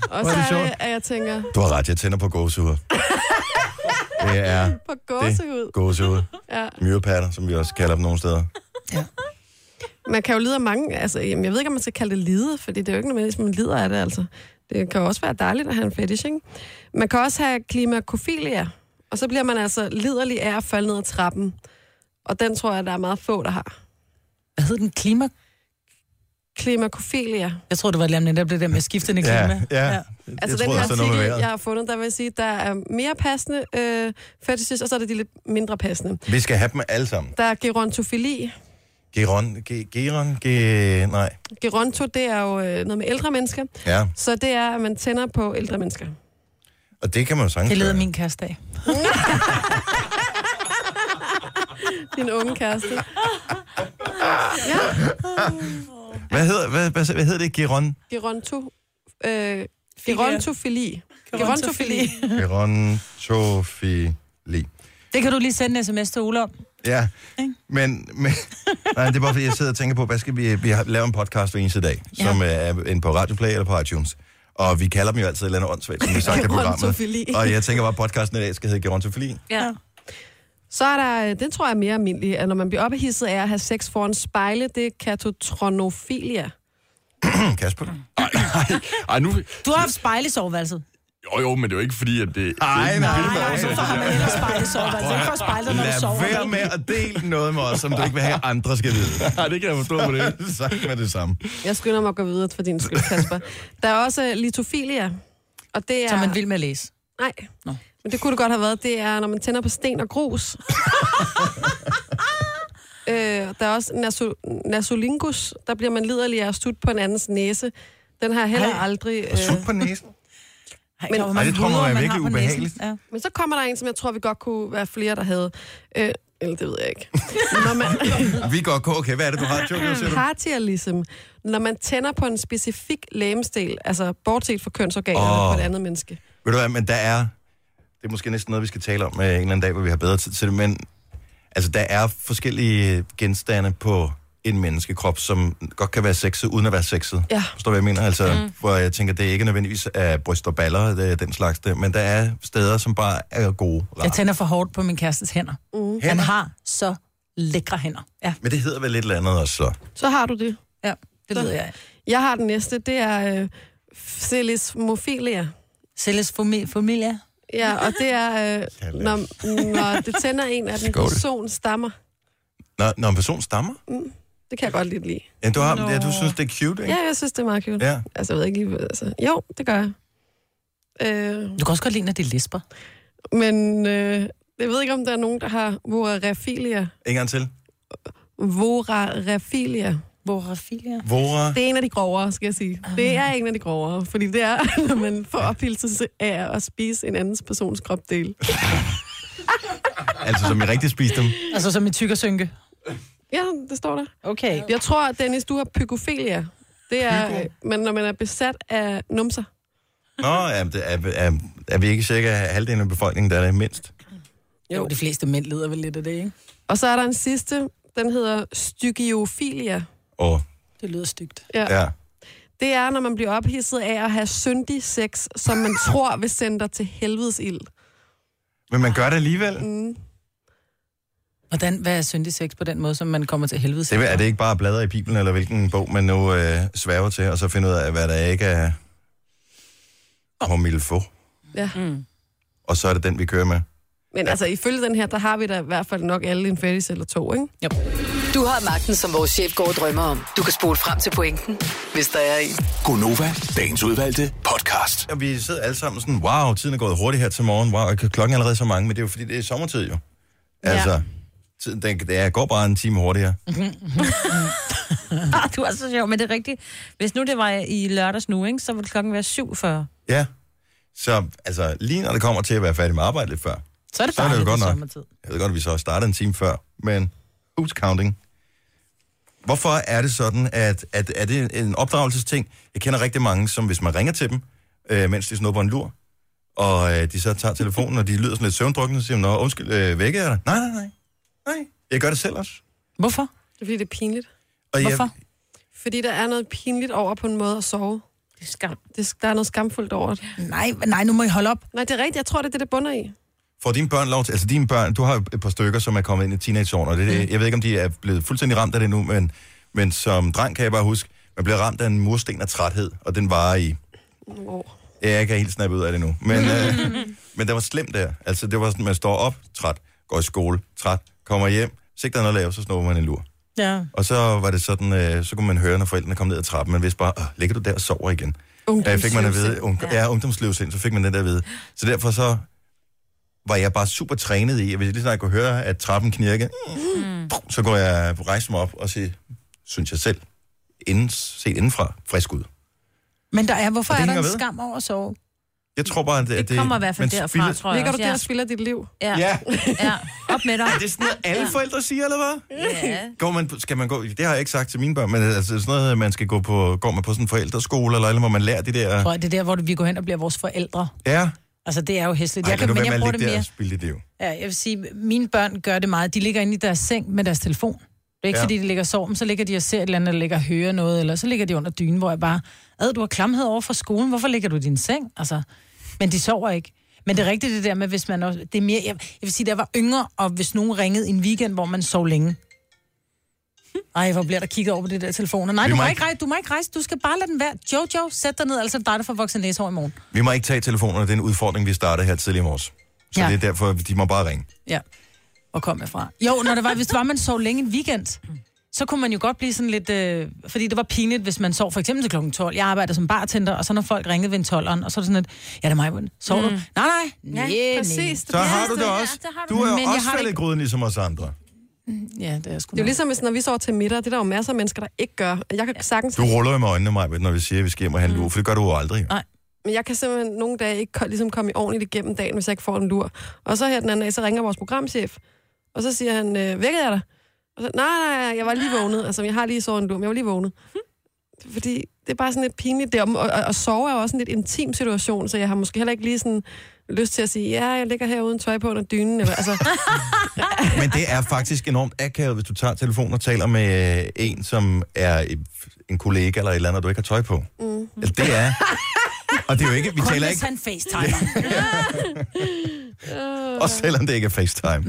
og Hvor så er det er sjovt. det, at jeg tænker, Du har ret, jeg tænder på gåsehud. Det er på gåsehud. gåsehud. Ja. Myrepatter, som vi også kalder dem nogle steder. Man kan jo lide af mange, altså jamen, jeg ved ikke, om man skal kalde det lide, fordi det er jo ikke nødvendigvis, man lider af det, altså. Det kan jo også være dejligt at have en fetish, ikke? Man kan også have klimakofilia, og så bliver man altså liderlig af at falde ned ad trappen. Og den tror jeg, der er meget få, der har. Hvad hed den? Klima? Klimakofilia. Jeg tror, det var et eller andet, der blev det der med skiftende klima. ja. ja. Det, Altså den her artikel, jeg har fundet, der vil jeg sige, der er mere passende øh, fetishes, og så er der de lidt mindre passende. Vi skal have dem alle sammen. Der er gerontofili. Geron, ge, geron, ge, nej. Geronto, det er jo øh, noget med ældre mennesker. Ja, Så det er, at man tænder på ældre mennesker. og det kan man jo sagtens Det leder gøre. min kæreste af. Din unge kæreste. Ja. Hvad hedder, hvad, hvad, hvad hedder det? Geron? Geronto... Øh, gerontofili. Gerontofili. Gerontofili. Det kan du lige sende en sms til Ole om. Ja, men, men nej, det er bare fordi, jeg sidder og tænker på, hvad skal vi, vi har- laver en podcast hver eneste dag, ja. som øh, er inde på Radioplay eller på iTunes. Og vi kalder dem jo altid et eller andet åndssvagt, som vi har sagt i Gerontofili. programmet. Og jeg tænker bare, at podcasten i dag skal hedde Gerontofili. Ja. Så er der, øh, den tror jeg er mere almindelig, at når man bliver ophidset af at have sex foran spejle, det er katotronofilia. Mm, Kasper? Ej, nu... Du har haft spejl i soveværelset. Jo, jo, men det er jo ikke fordi, at Ej, det... det er nej, nej, nej, Så har man ellers spejl i soveværelset. Altså, Ikke for at spejle dig, når du sover. Lad være med at dele noget med os, som du ikke vil have, andre skal vide. Nej, det kan jeg forstå på det. Sagt med det samme. Jeg skynder mig at gå videre for din skyld, Kasper. Der er også øh, litofilia, og det er... Så man vil med at læse. Nej. Nå. Men det kunne det godt have været. Det er, når man tænder på sten og grus. øh, der er også naso, nasolingus. Der bliver man liderlig af at stutte på en andens næse. Den har jeg heller Ej. aldrig... Og sut på næsen. Men, Ej, det tror man er virkelig ubehageligt. Ja. Men så kommer der en, som jeg tror, vi godt kunne være flere, der havde. Øh, eller det ved jeg ikke. Når man, Vi går okay, okay, hvad er det, du har, Jojo, siger du? partialism. Når man tænder på en specifik lægemsdel, altså bortset fra kønsorganerne Åh. på et andet menneske. Ved du hvad, men der er... Det er måske næsten noget, vi skal tale om øh, en eller anden dag, hvor vi har bedre tid til det, men altså, der er forskellige genstande på en menneskekrop, som godt kan være sexet, uden at være sexet. Ja. Forstår du, hvad jeg mener? Altså, mm. hvor jeg tænker, det er ikke nødvendigvis af bryst og baller, det er den slags, det, men der er steder, som bare er gode. Jeg tænder for hårdt på min kærestes hænder. Mm. Han Hænder? har så lækre hænder. Ja, Men det hedder vel lidt eller andet også, så. Så har du det. ja det Så- ved jeg. Jeg har den næste, det er øh, celismofilia. Celles fami- familie. Ja, og det er, øh, Lad os. når, når det tænder en, at en Skål. person stammer. Når, når en person stammer? Det kan jeg godt lidt lide. Ja, du, har, ja, du synes, det er cute, ikke? Ja, jeg synes, det er meget cute. Ja. Altså, jeg ved ikke lige, hvad- altså. Jo, det gør jeg. Øh, Du kan også godt lide, når det lisper. men øh, jeg ved ikke, om der er nogen, der har vorarefilia. En gang til. Vorarefilia. Vorafilia. Vora. Det er en af de grovere, skal jeg sige. Det er en af de grovere, fordi det er, når man får ophilselse af at spise en andens persons kropdel. Altså, som I rigtig spiste dem. Altså som i tykkersynke. Ja, det står der. Okay. Jeg tror, Dennis, du har pykofilia. Det er, øh, men når man er besat af numser. Nå, ja, men det er, er, er, vi ikke cirka halvdelen af befolkningen, der er det mindst? Jo, de fleste mænd lider vel lidt af det, ikke? Og så er der en sidste, den hedder stygiofilia. Og, Det lyder stygt. Ja. ja. ja. Det er, når man bliver ophidset af at have syndig sex, som man tror vil sende dig til helvedes ild. Men man gør det alligevel. Mm. Hvordan, hvad er syndig sex på den måde, som man kommer til helvede Det er, er det ikke bare at bladre i Bibelen, eller hvilken bog man nu øh, sværger til, og så finde ud af, hvad der ikke er homilfo. Ja. Mm. Og så er det den, vi kører med. Men altså, ifølge den her, der har vi da i hvert fald nok alle en fetish eller to, ikke? Yep. Du har magten, som vores chef går og drømmer om. Du kan spole frem til pointen, hvis der er en. Gonova, dagens udvalgte podcast. Og vi sidder alle sammen sådan, wow, tiden er gået hurtigt her til morgen. Wow, og klokken er allerede så mange, men det er jo fordi, det er sommertid jo. Altså, ja. tiden, den, det går bare en time hurtigere. ah, du er så sjov, men det er rigtigt. Hvis nu det var i lørdags nu, ikke, så ville klokken være 7.40. Ja. Så altså, lige når det kommer til at være færdig med arbejde lidt før, Så er det så er det jo dejligt, godt det er nok. sommertid. Jeg ved godt, at vi så startede en time før, men who's counting? Hvorfor er det sådan, at, at er det en opdragelsesting? Jeg kender rigtig mange, som hvis man ringer til dem, øh, mens de snupper en lur, og øh, de så tager telefonen, og de lyder sådan lidt søvndrukkende, så siger de, Nå, undskyld, øh, vækker jeg dig? Nej, nej, nej. Nej, jeg gør det selv også. Hvorfor? Det er fordi, det er pinligt. Og jeg- Hvorfor? Fordi der er noget pinligt over på en måde at sove. Det er skam. Det, der er noget skamfuldt over det. Nej, nej, nu må I holde op. Nej, det er rigtigt. Jeg tror, det er det, det bunder i. Får dine børn lov til, altså dine børn, du har jo et par stykker, som er kommet ind i teenageårene, og det, Mm. er det, jeg ved ikke, om de er blevet fuldstændig ramt af det nu, men, men som dreng kan jeg bare huske, man bliver ramt af en mursten af træthed, og den varer i Oh. Ja, jeg kan ikke helt snappe ud af det nu. Men, øh, men det var slemt der. Altså, det var sådan, man står op, træt, går i skole, træt, kommer hjem, hvis ikke der er noget at lave, så snupper man en lur. Ja. Og så var det sådan, øh, så kunne man høre, når forældrene kom ned ad trappen, man vidste bare, "Åh, ligger du der og sover igen? Ja, fik man at vide, un- ja. ja, ungdomslivsind, så fik man den der at vide. Så derfor så var jeg bare super trænet i, at hvis jeg lige snart kunne høre, at trappen knirke, mm. så går jeg rejse mig op og sige, synes jeg selv, inden, set indenfra, frisk ud. Men der er, hvorfor Og det er der hænger en ved. skam over at sove? Jeg tror bare, at det, Det kommer i hvert man fald derfra, spilder- tror jeg. Ligger du også, der ja. og spilder dit liv? Ja. Ja. ja. Op med dig. Er det sådan noget, alle Ja. forældre siger, eller hvad? Ja. Går man, på- skal man gå, det har jeg ikke sagt til mine børn, men altså sådan noget, man skal gå på, går man på sådan en forældreskole, eller, eller hvor man lærer de der... Jeg tror, det er der, hvor vi går hen og bliver vores forældre. Ja. Altså, det er jo hæsligt. Ej, Jeg jeg kan, kan, lad du men være med jeg bruger at det ligge der mere. og spille dit liv. Ja, jeg vil sige, mine børn gør det meget. De ligger inde i deres seng med deres telefon. Det er ikke, Ja. ja. fordi de ligger og sover, men så ligger de og ser et eller andet, eller ligger og hører noget, eller så ligger de under dynen, hvor jeg bare, ad, du har klamhed over for skolen, hvorfor ligger du i din seng? Altså, men de sover ikke. Men det er rigtigt det der med, hvis man også, det er mere, jeg, jeg vil sige, da jeg var yngre, og hvis nogen ringede i en weekend, hvor man sov længe. Ej, hvor bliver der kigget over på det der telefoner. Nej, Vi du må må, ikke- ikke rejse, du må ikke rejse, du skal bare lade den være. Jojo, sæt dig ned, altså dig, der får vokset næsehår i morgen. Vi må ikke tage telefonerne, det er en udfordring, vi startede her tidligere i morges. Så ja. Ja. det er derfor, de må bare ringe. Ja. Hvor kom jeg fra? Jo, når det var, hvis det var, man sov længe en weekend, så kunne man jo godt blive sådan lidt... Øh, fordi det var pinligt, hvis man sov for eksempel til klokken 12. Jeg arbejder som bartender, og så når folk ringede ved en 12'eren, og så er det sådan lidt... Ja, det er mig, Britt. Sov du? Mm. Nej, nej. Ja, Nej, ja, præcis. Så har du det også. Du er jo også faldet i gryden, ligesom os andre. Ja, det er sgu Det er jo ligesom, hvis, når vi sover til middag, det er der jo masser af mennesker, der ikke gør. Jeg kan sagtens... Du ruller jo med øjnene, Maja, når vi siger, at vi skal hjem og handle mm. for det gør du jo aldrig. jo. Nej. Men jeg kan simpelthen nogle dage ikke ko- ligesom komme i ordentligt igennem dagen, hvis jeg ikke får en lur. Og så her den anden dag, så ringer vores programchef, og så siger han, øh, vækker jeg dig? Og så, nej, nej, nej, jeg var lige vågnet. Altså, jeg har lige sovet en lur, men jeg var lige vågnet. Fordi det er bare sådan lidt pinligt. Det, er om- og, og, og sove er jo også en lidt intim situation, så jeg har måske heller ikke lige sådan lyst til at sige, ja, jeg ligger her uden tøj på under dynen. Eller, altså, Men det er faktisk enormt akavet, hvis du tager telefonen og taler med øh, en, som er øh, en kollega eller et eller andet, og du ikke har tøj på. mm. Altså, det er... Og det er jo ikke... Vi Kun taler hvis ikke... han facetimer. Også selvom det ikke er FaceTime.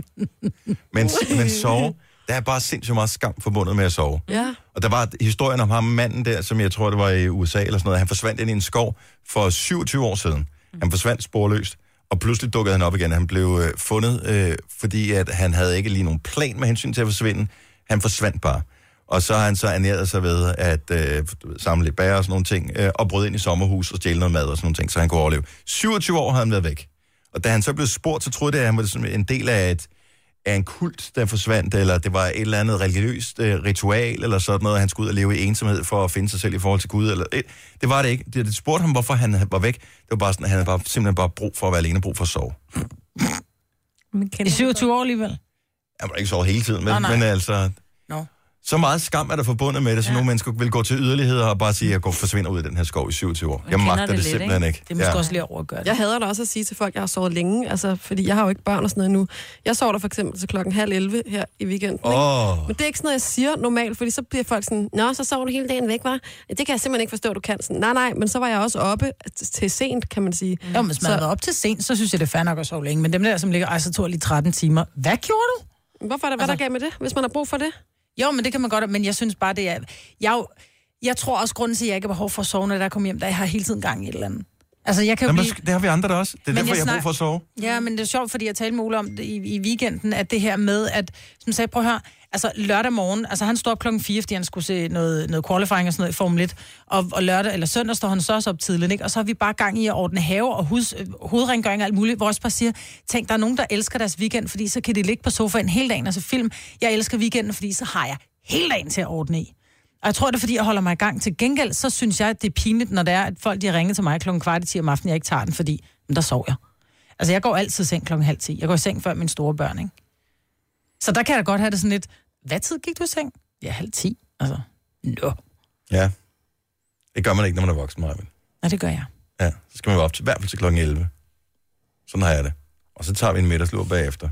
Men, men sove, der er bare sindssygt meget skam forbundet med at sove. Ja. Og der var historien om ham manden der, som jeg tror, det var i USA eller sådan noget. Han forsvandt ind i en skov for 27 år siden. Han forsvandt sporløst, og pludselig dukkede han op igen. Han blev øh, fundet, øh, fordi at han havde ikke lige nogen plan med hensyn til at forsvinde. Han forsvandt bare. Og så har han så ernæret sig ved at øh, du ved, samle lidt bær og sådan nogle ting, øh, og brød ind i sommerhus og stjæle noget mad og sådan nogle ting, så han kunne overleve. 27 år havde han været væk. Og da han så blev spurgt, så troede det, at han var sådan en del af et, af en kult, der forsvandt, eller det var et eller andet religiøst øh, ritual, eller sådan noget, han skulle ud og leve i ensomhed for at finde sig selv i forhold til Gud. Eller, øh, det var det ikke. Det, det spurgte ham, hvorfor han var væk. Det var bare sådan, at han havde bare, simpelthen bare brug for at være alene, brug for at sove. I 27 år alligevel. Han var ikke sove hele tiden, men, Nå, nej. men altså... Nå. Så meget skam er der forbundet med det, så ja. nogle mennesker vil gå til yderligheder og bare sige, at jeg går forsvinder ud af den her skov i 27 år. Jeg kender magter det, det lidt, simpelthen ikke. Det er måske ja. også lige over at gøre det. Jeg hader da også at sige til folk, at jeg har sovet længe, altså, fordi jeg har jo ikke børn og sådan noget nu. Jeg sover der for eksempel til klokken halv 11 her i weekenden. ikke? Åh. Men det er ikke sådan noget, jeg siger normalt, fordi så bliver folk sådan, Nå, så sover du hele dagen væk, var? Det kan jeg simpelthen ikke forstå, du kan. Sådan, nej, nej, men så var jeg også oppe til sent, kan man sige. Jo, hvis man så... har været op til sent, så synes jeg, det er fair nok at sove længe. Men dem der, som ligger, ej, så tog jeg lige 13 timer. Hvad gjorde du? Hvorfor er der, hvad der gav med det, hvis man har brug for det? Jo, men det kan man godt, men jeg synes bare, det er... Jeg, er jo- jeg tror også, grunden til, at jeg ikke har behov for at sove, når jeg kommer hjem, der jeg har hele tiden gang i et eller andet. Altså, jeg kan jo Jamen, blive... Det har vi andre der også. Det er Men derfor, jeg jeg, har brug snak- for at sove. Ja, men det er sjovt, fordi jeg talte med Ole om det i, i weekenden, at det her med, at, som jeg sagde, prøv at høre, altså lørdag morgen, altså han står op klokken 4, fordi han skulle se noget, noget qualifying og sådan noget i Formel 1, og, og lørdag eller søndag står han så også op tidligt, ikke? og så har vi bare gang i at ordne have og hus, øh, hovedrengøring og alt muligt, hvor jeg også bare siger, tænk, der er nogen, der elsker deres weekend, fordi så kan de ligge på sofaen hele dagen og se film. Jeg elsker weekenden, fordi så har jeg hele dagen til at ordne i. Og jeg tror, det er, fordi jeg holder mig i gang. Til gengæld, så synes jeg, at det er pinligt, når det er, at folk de har ringet til mig klokken kvart i 10 om aftenen, jeg ikke tager den, fordi men der sover jeg. Altså, jeg går altid i seng klokken halv 10. Jeg går i seng før mine store børn, ikke? Så der kan jeg da godt have det sådan lidt, hvad tid gik du i seng? Ja, halv 10. Altså, nå. Ja. Det gør man ikke, når man er voksen, Marvin. Nej, det gør jeg. Ja, så skal man være op til, i hvert fald til klokken 11. Sådan har jeg det. Og så tager vi en middagslur bagefter.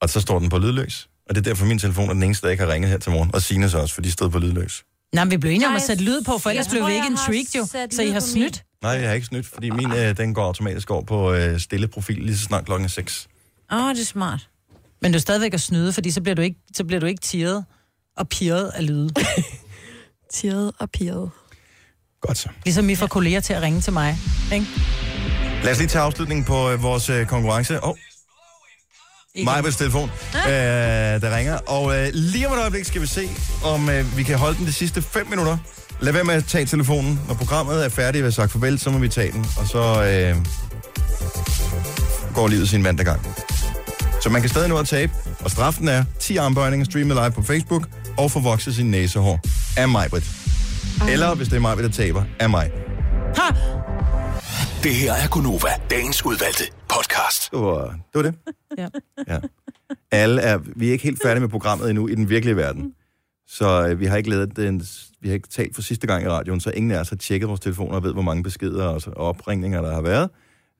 Og så står den på lydløs. Og det er derfor, min telefon er den eneste, der ikke har ringet her til morgen. Og Sines også, for de stod på lydløs. Nej, men vi blev enige om at Nej, sætte lyd på, for jeg ellers blev tror, vi jeg ikke en har trick, jo. sat Så I lyd har på snydt. Nej, jeg har ikke snydt, fordi min øh, den går automatisk over på øh, stille profil lige så snart klokken er 6. Åh, oh, det er smart. Men du er stadigvæk at snyde, fordi så bliver du ikke, så bliver du ikke tiret og pirret af lyde. tiret og pirret. Godt så. Ligesom I får kolleger til at ringe til mig, ikke? Lad os lige tage afslutningen på øh, vores øh, konkurrence. Åh, oh. Majbets telefon, øh, der ringer. Og øh, lige om et øjeblik skal vi se, om øh, vi kan holde den de sidste 5 minutter. Lad være med at tage telefonen. Når programmet er færdigt, vil jeg sagt farvel, så må vi tage den. Og så øh, går livet sin vand gang. Så man kan stadig nå at tabe. Og straffen er 10 armbøjninger streamet live på Facebook og få vokset sin næsehår af Majbrit. Eller hvis det er Majbrit, der taber, af mig. Ha! Det her er Gunova, dagens udvalgte podcast. Det var, det var det. Ja. ja. Alle er, vi er ikke helt færdige med programmet endnu i den virkelige verden. Så øh, vi har ikke lavet den, vi har ikke talt for sidste gang i radioen, så ingen af os har tjekket vores telefoner og ved, hvor mange beskeder og og opringninger, der har været.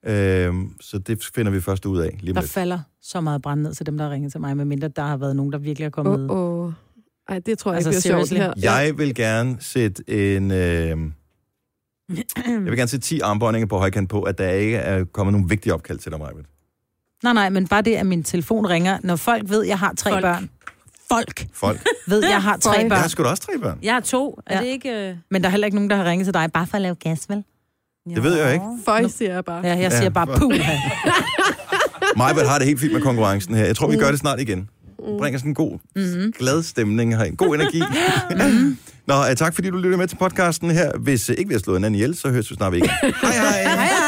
Øhm, så det finder vi først ud af lige om Der lidt. falder så meget brand ned til dem, der har ringet til mig, medmindre der har været nogen, der virkelig er kommet Åh, oh, oh. Ej, det tror jeg Altså, altså, bliver sjovt seriously. her. Jeg vil gerne sætte en... Øh, jeg vil gerne sætte 10 armbåndinger på højkant på, at der ikke er kommet nogen vigtige opkald til dig, Majbet. Nej, nej, men bare det, at min telefon ringer, når folk ved, at jeg har tre folk. børn. Folk Folk. ved, at jeg har tre Jeg har børn. sgu da også tre børn. Jeg har to. Er ja. det ikke... øh? Men der er heller ikke nogen, der har ringet til dig, bare for at lave gas, vel? Det ved jeg ikke. Føj, siger jeg bare. Ja, jeg siger Ja, bare, for- puh. Majbert har det helt fint med konkurrencen her. Jeg tror, vi gør det snart igen. Mm. Bringer sådan en god, Mhm. glad stemning her. En god energi. mm Nå, øh, tak fordi du lyttede med til podcasten her. Hvis øh, ikke vi har slået hinanden ihjel, så høres vi snart igen. Hej, hej.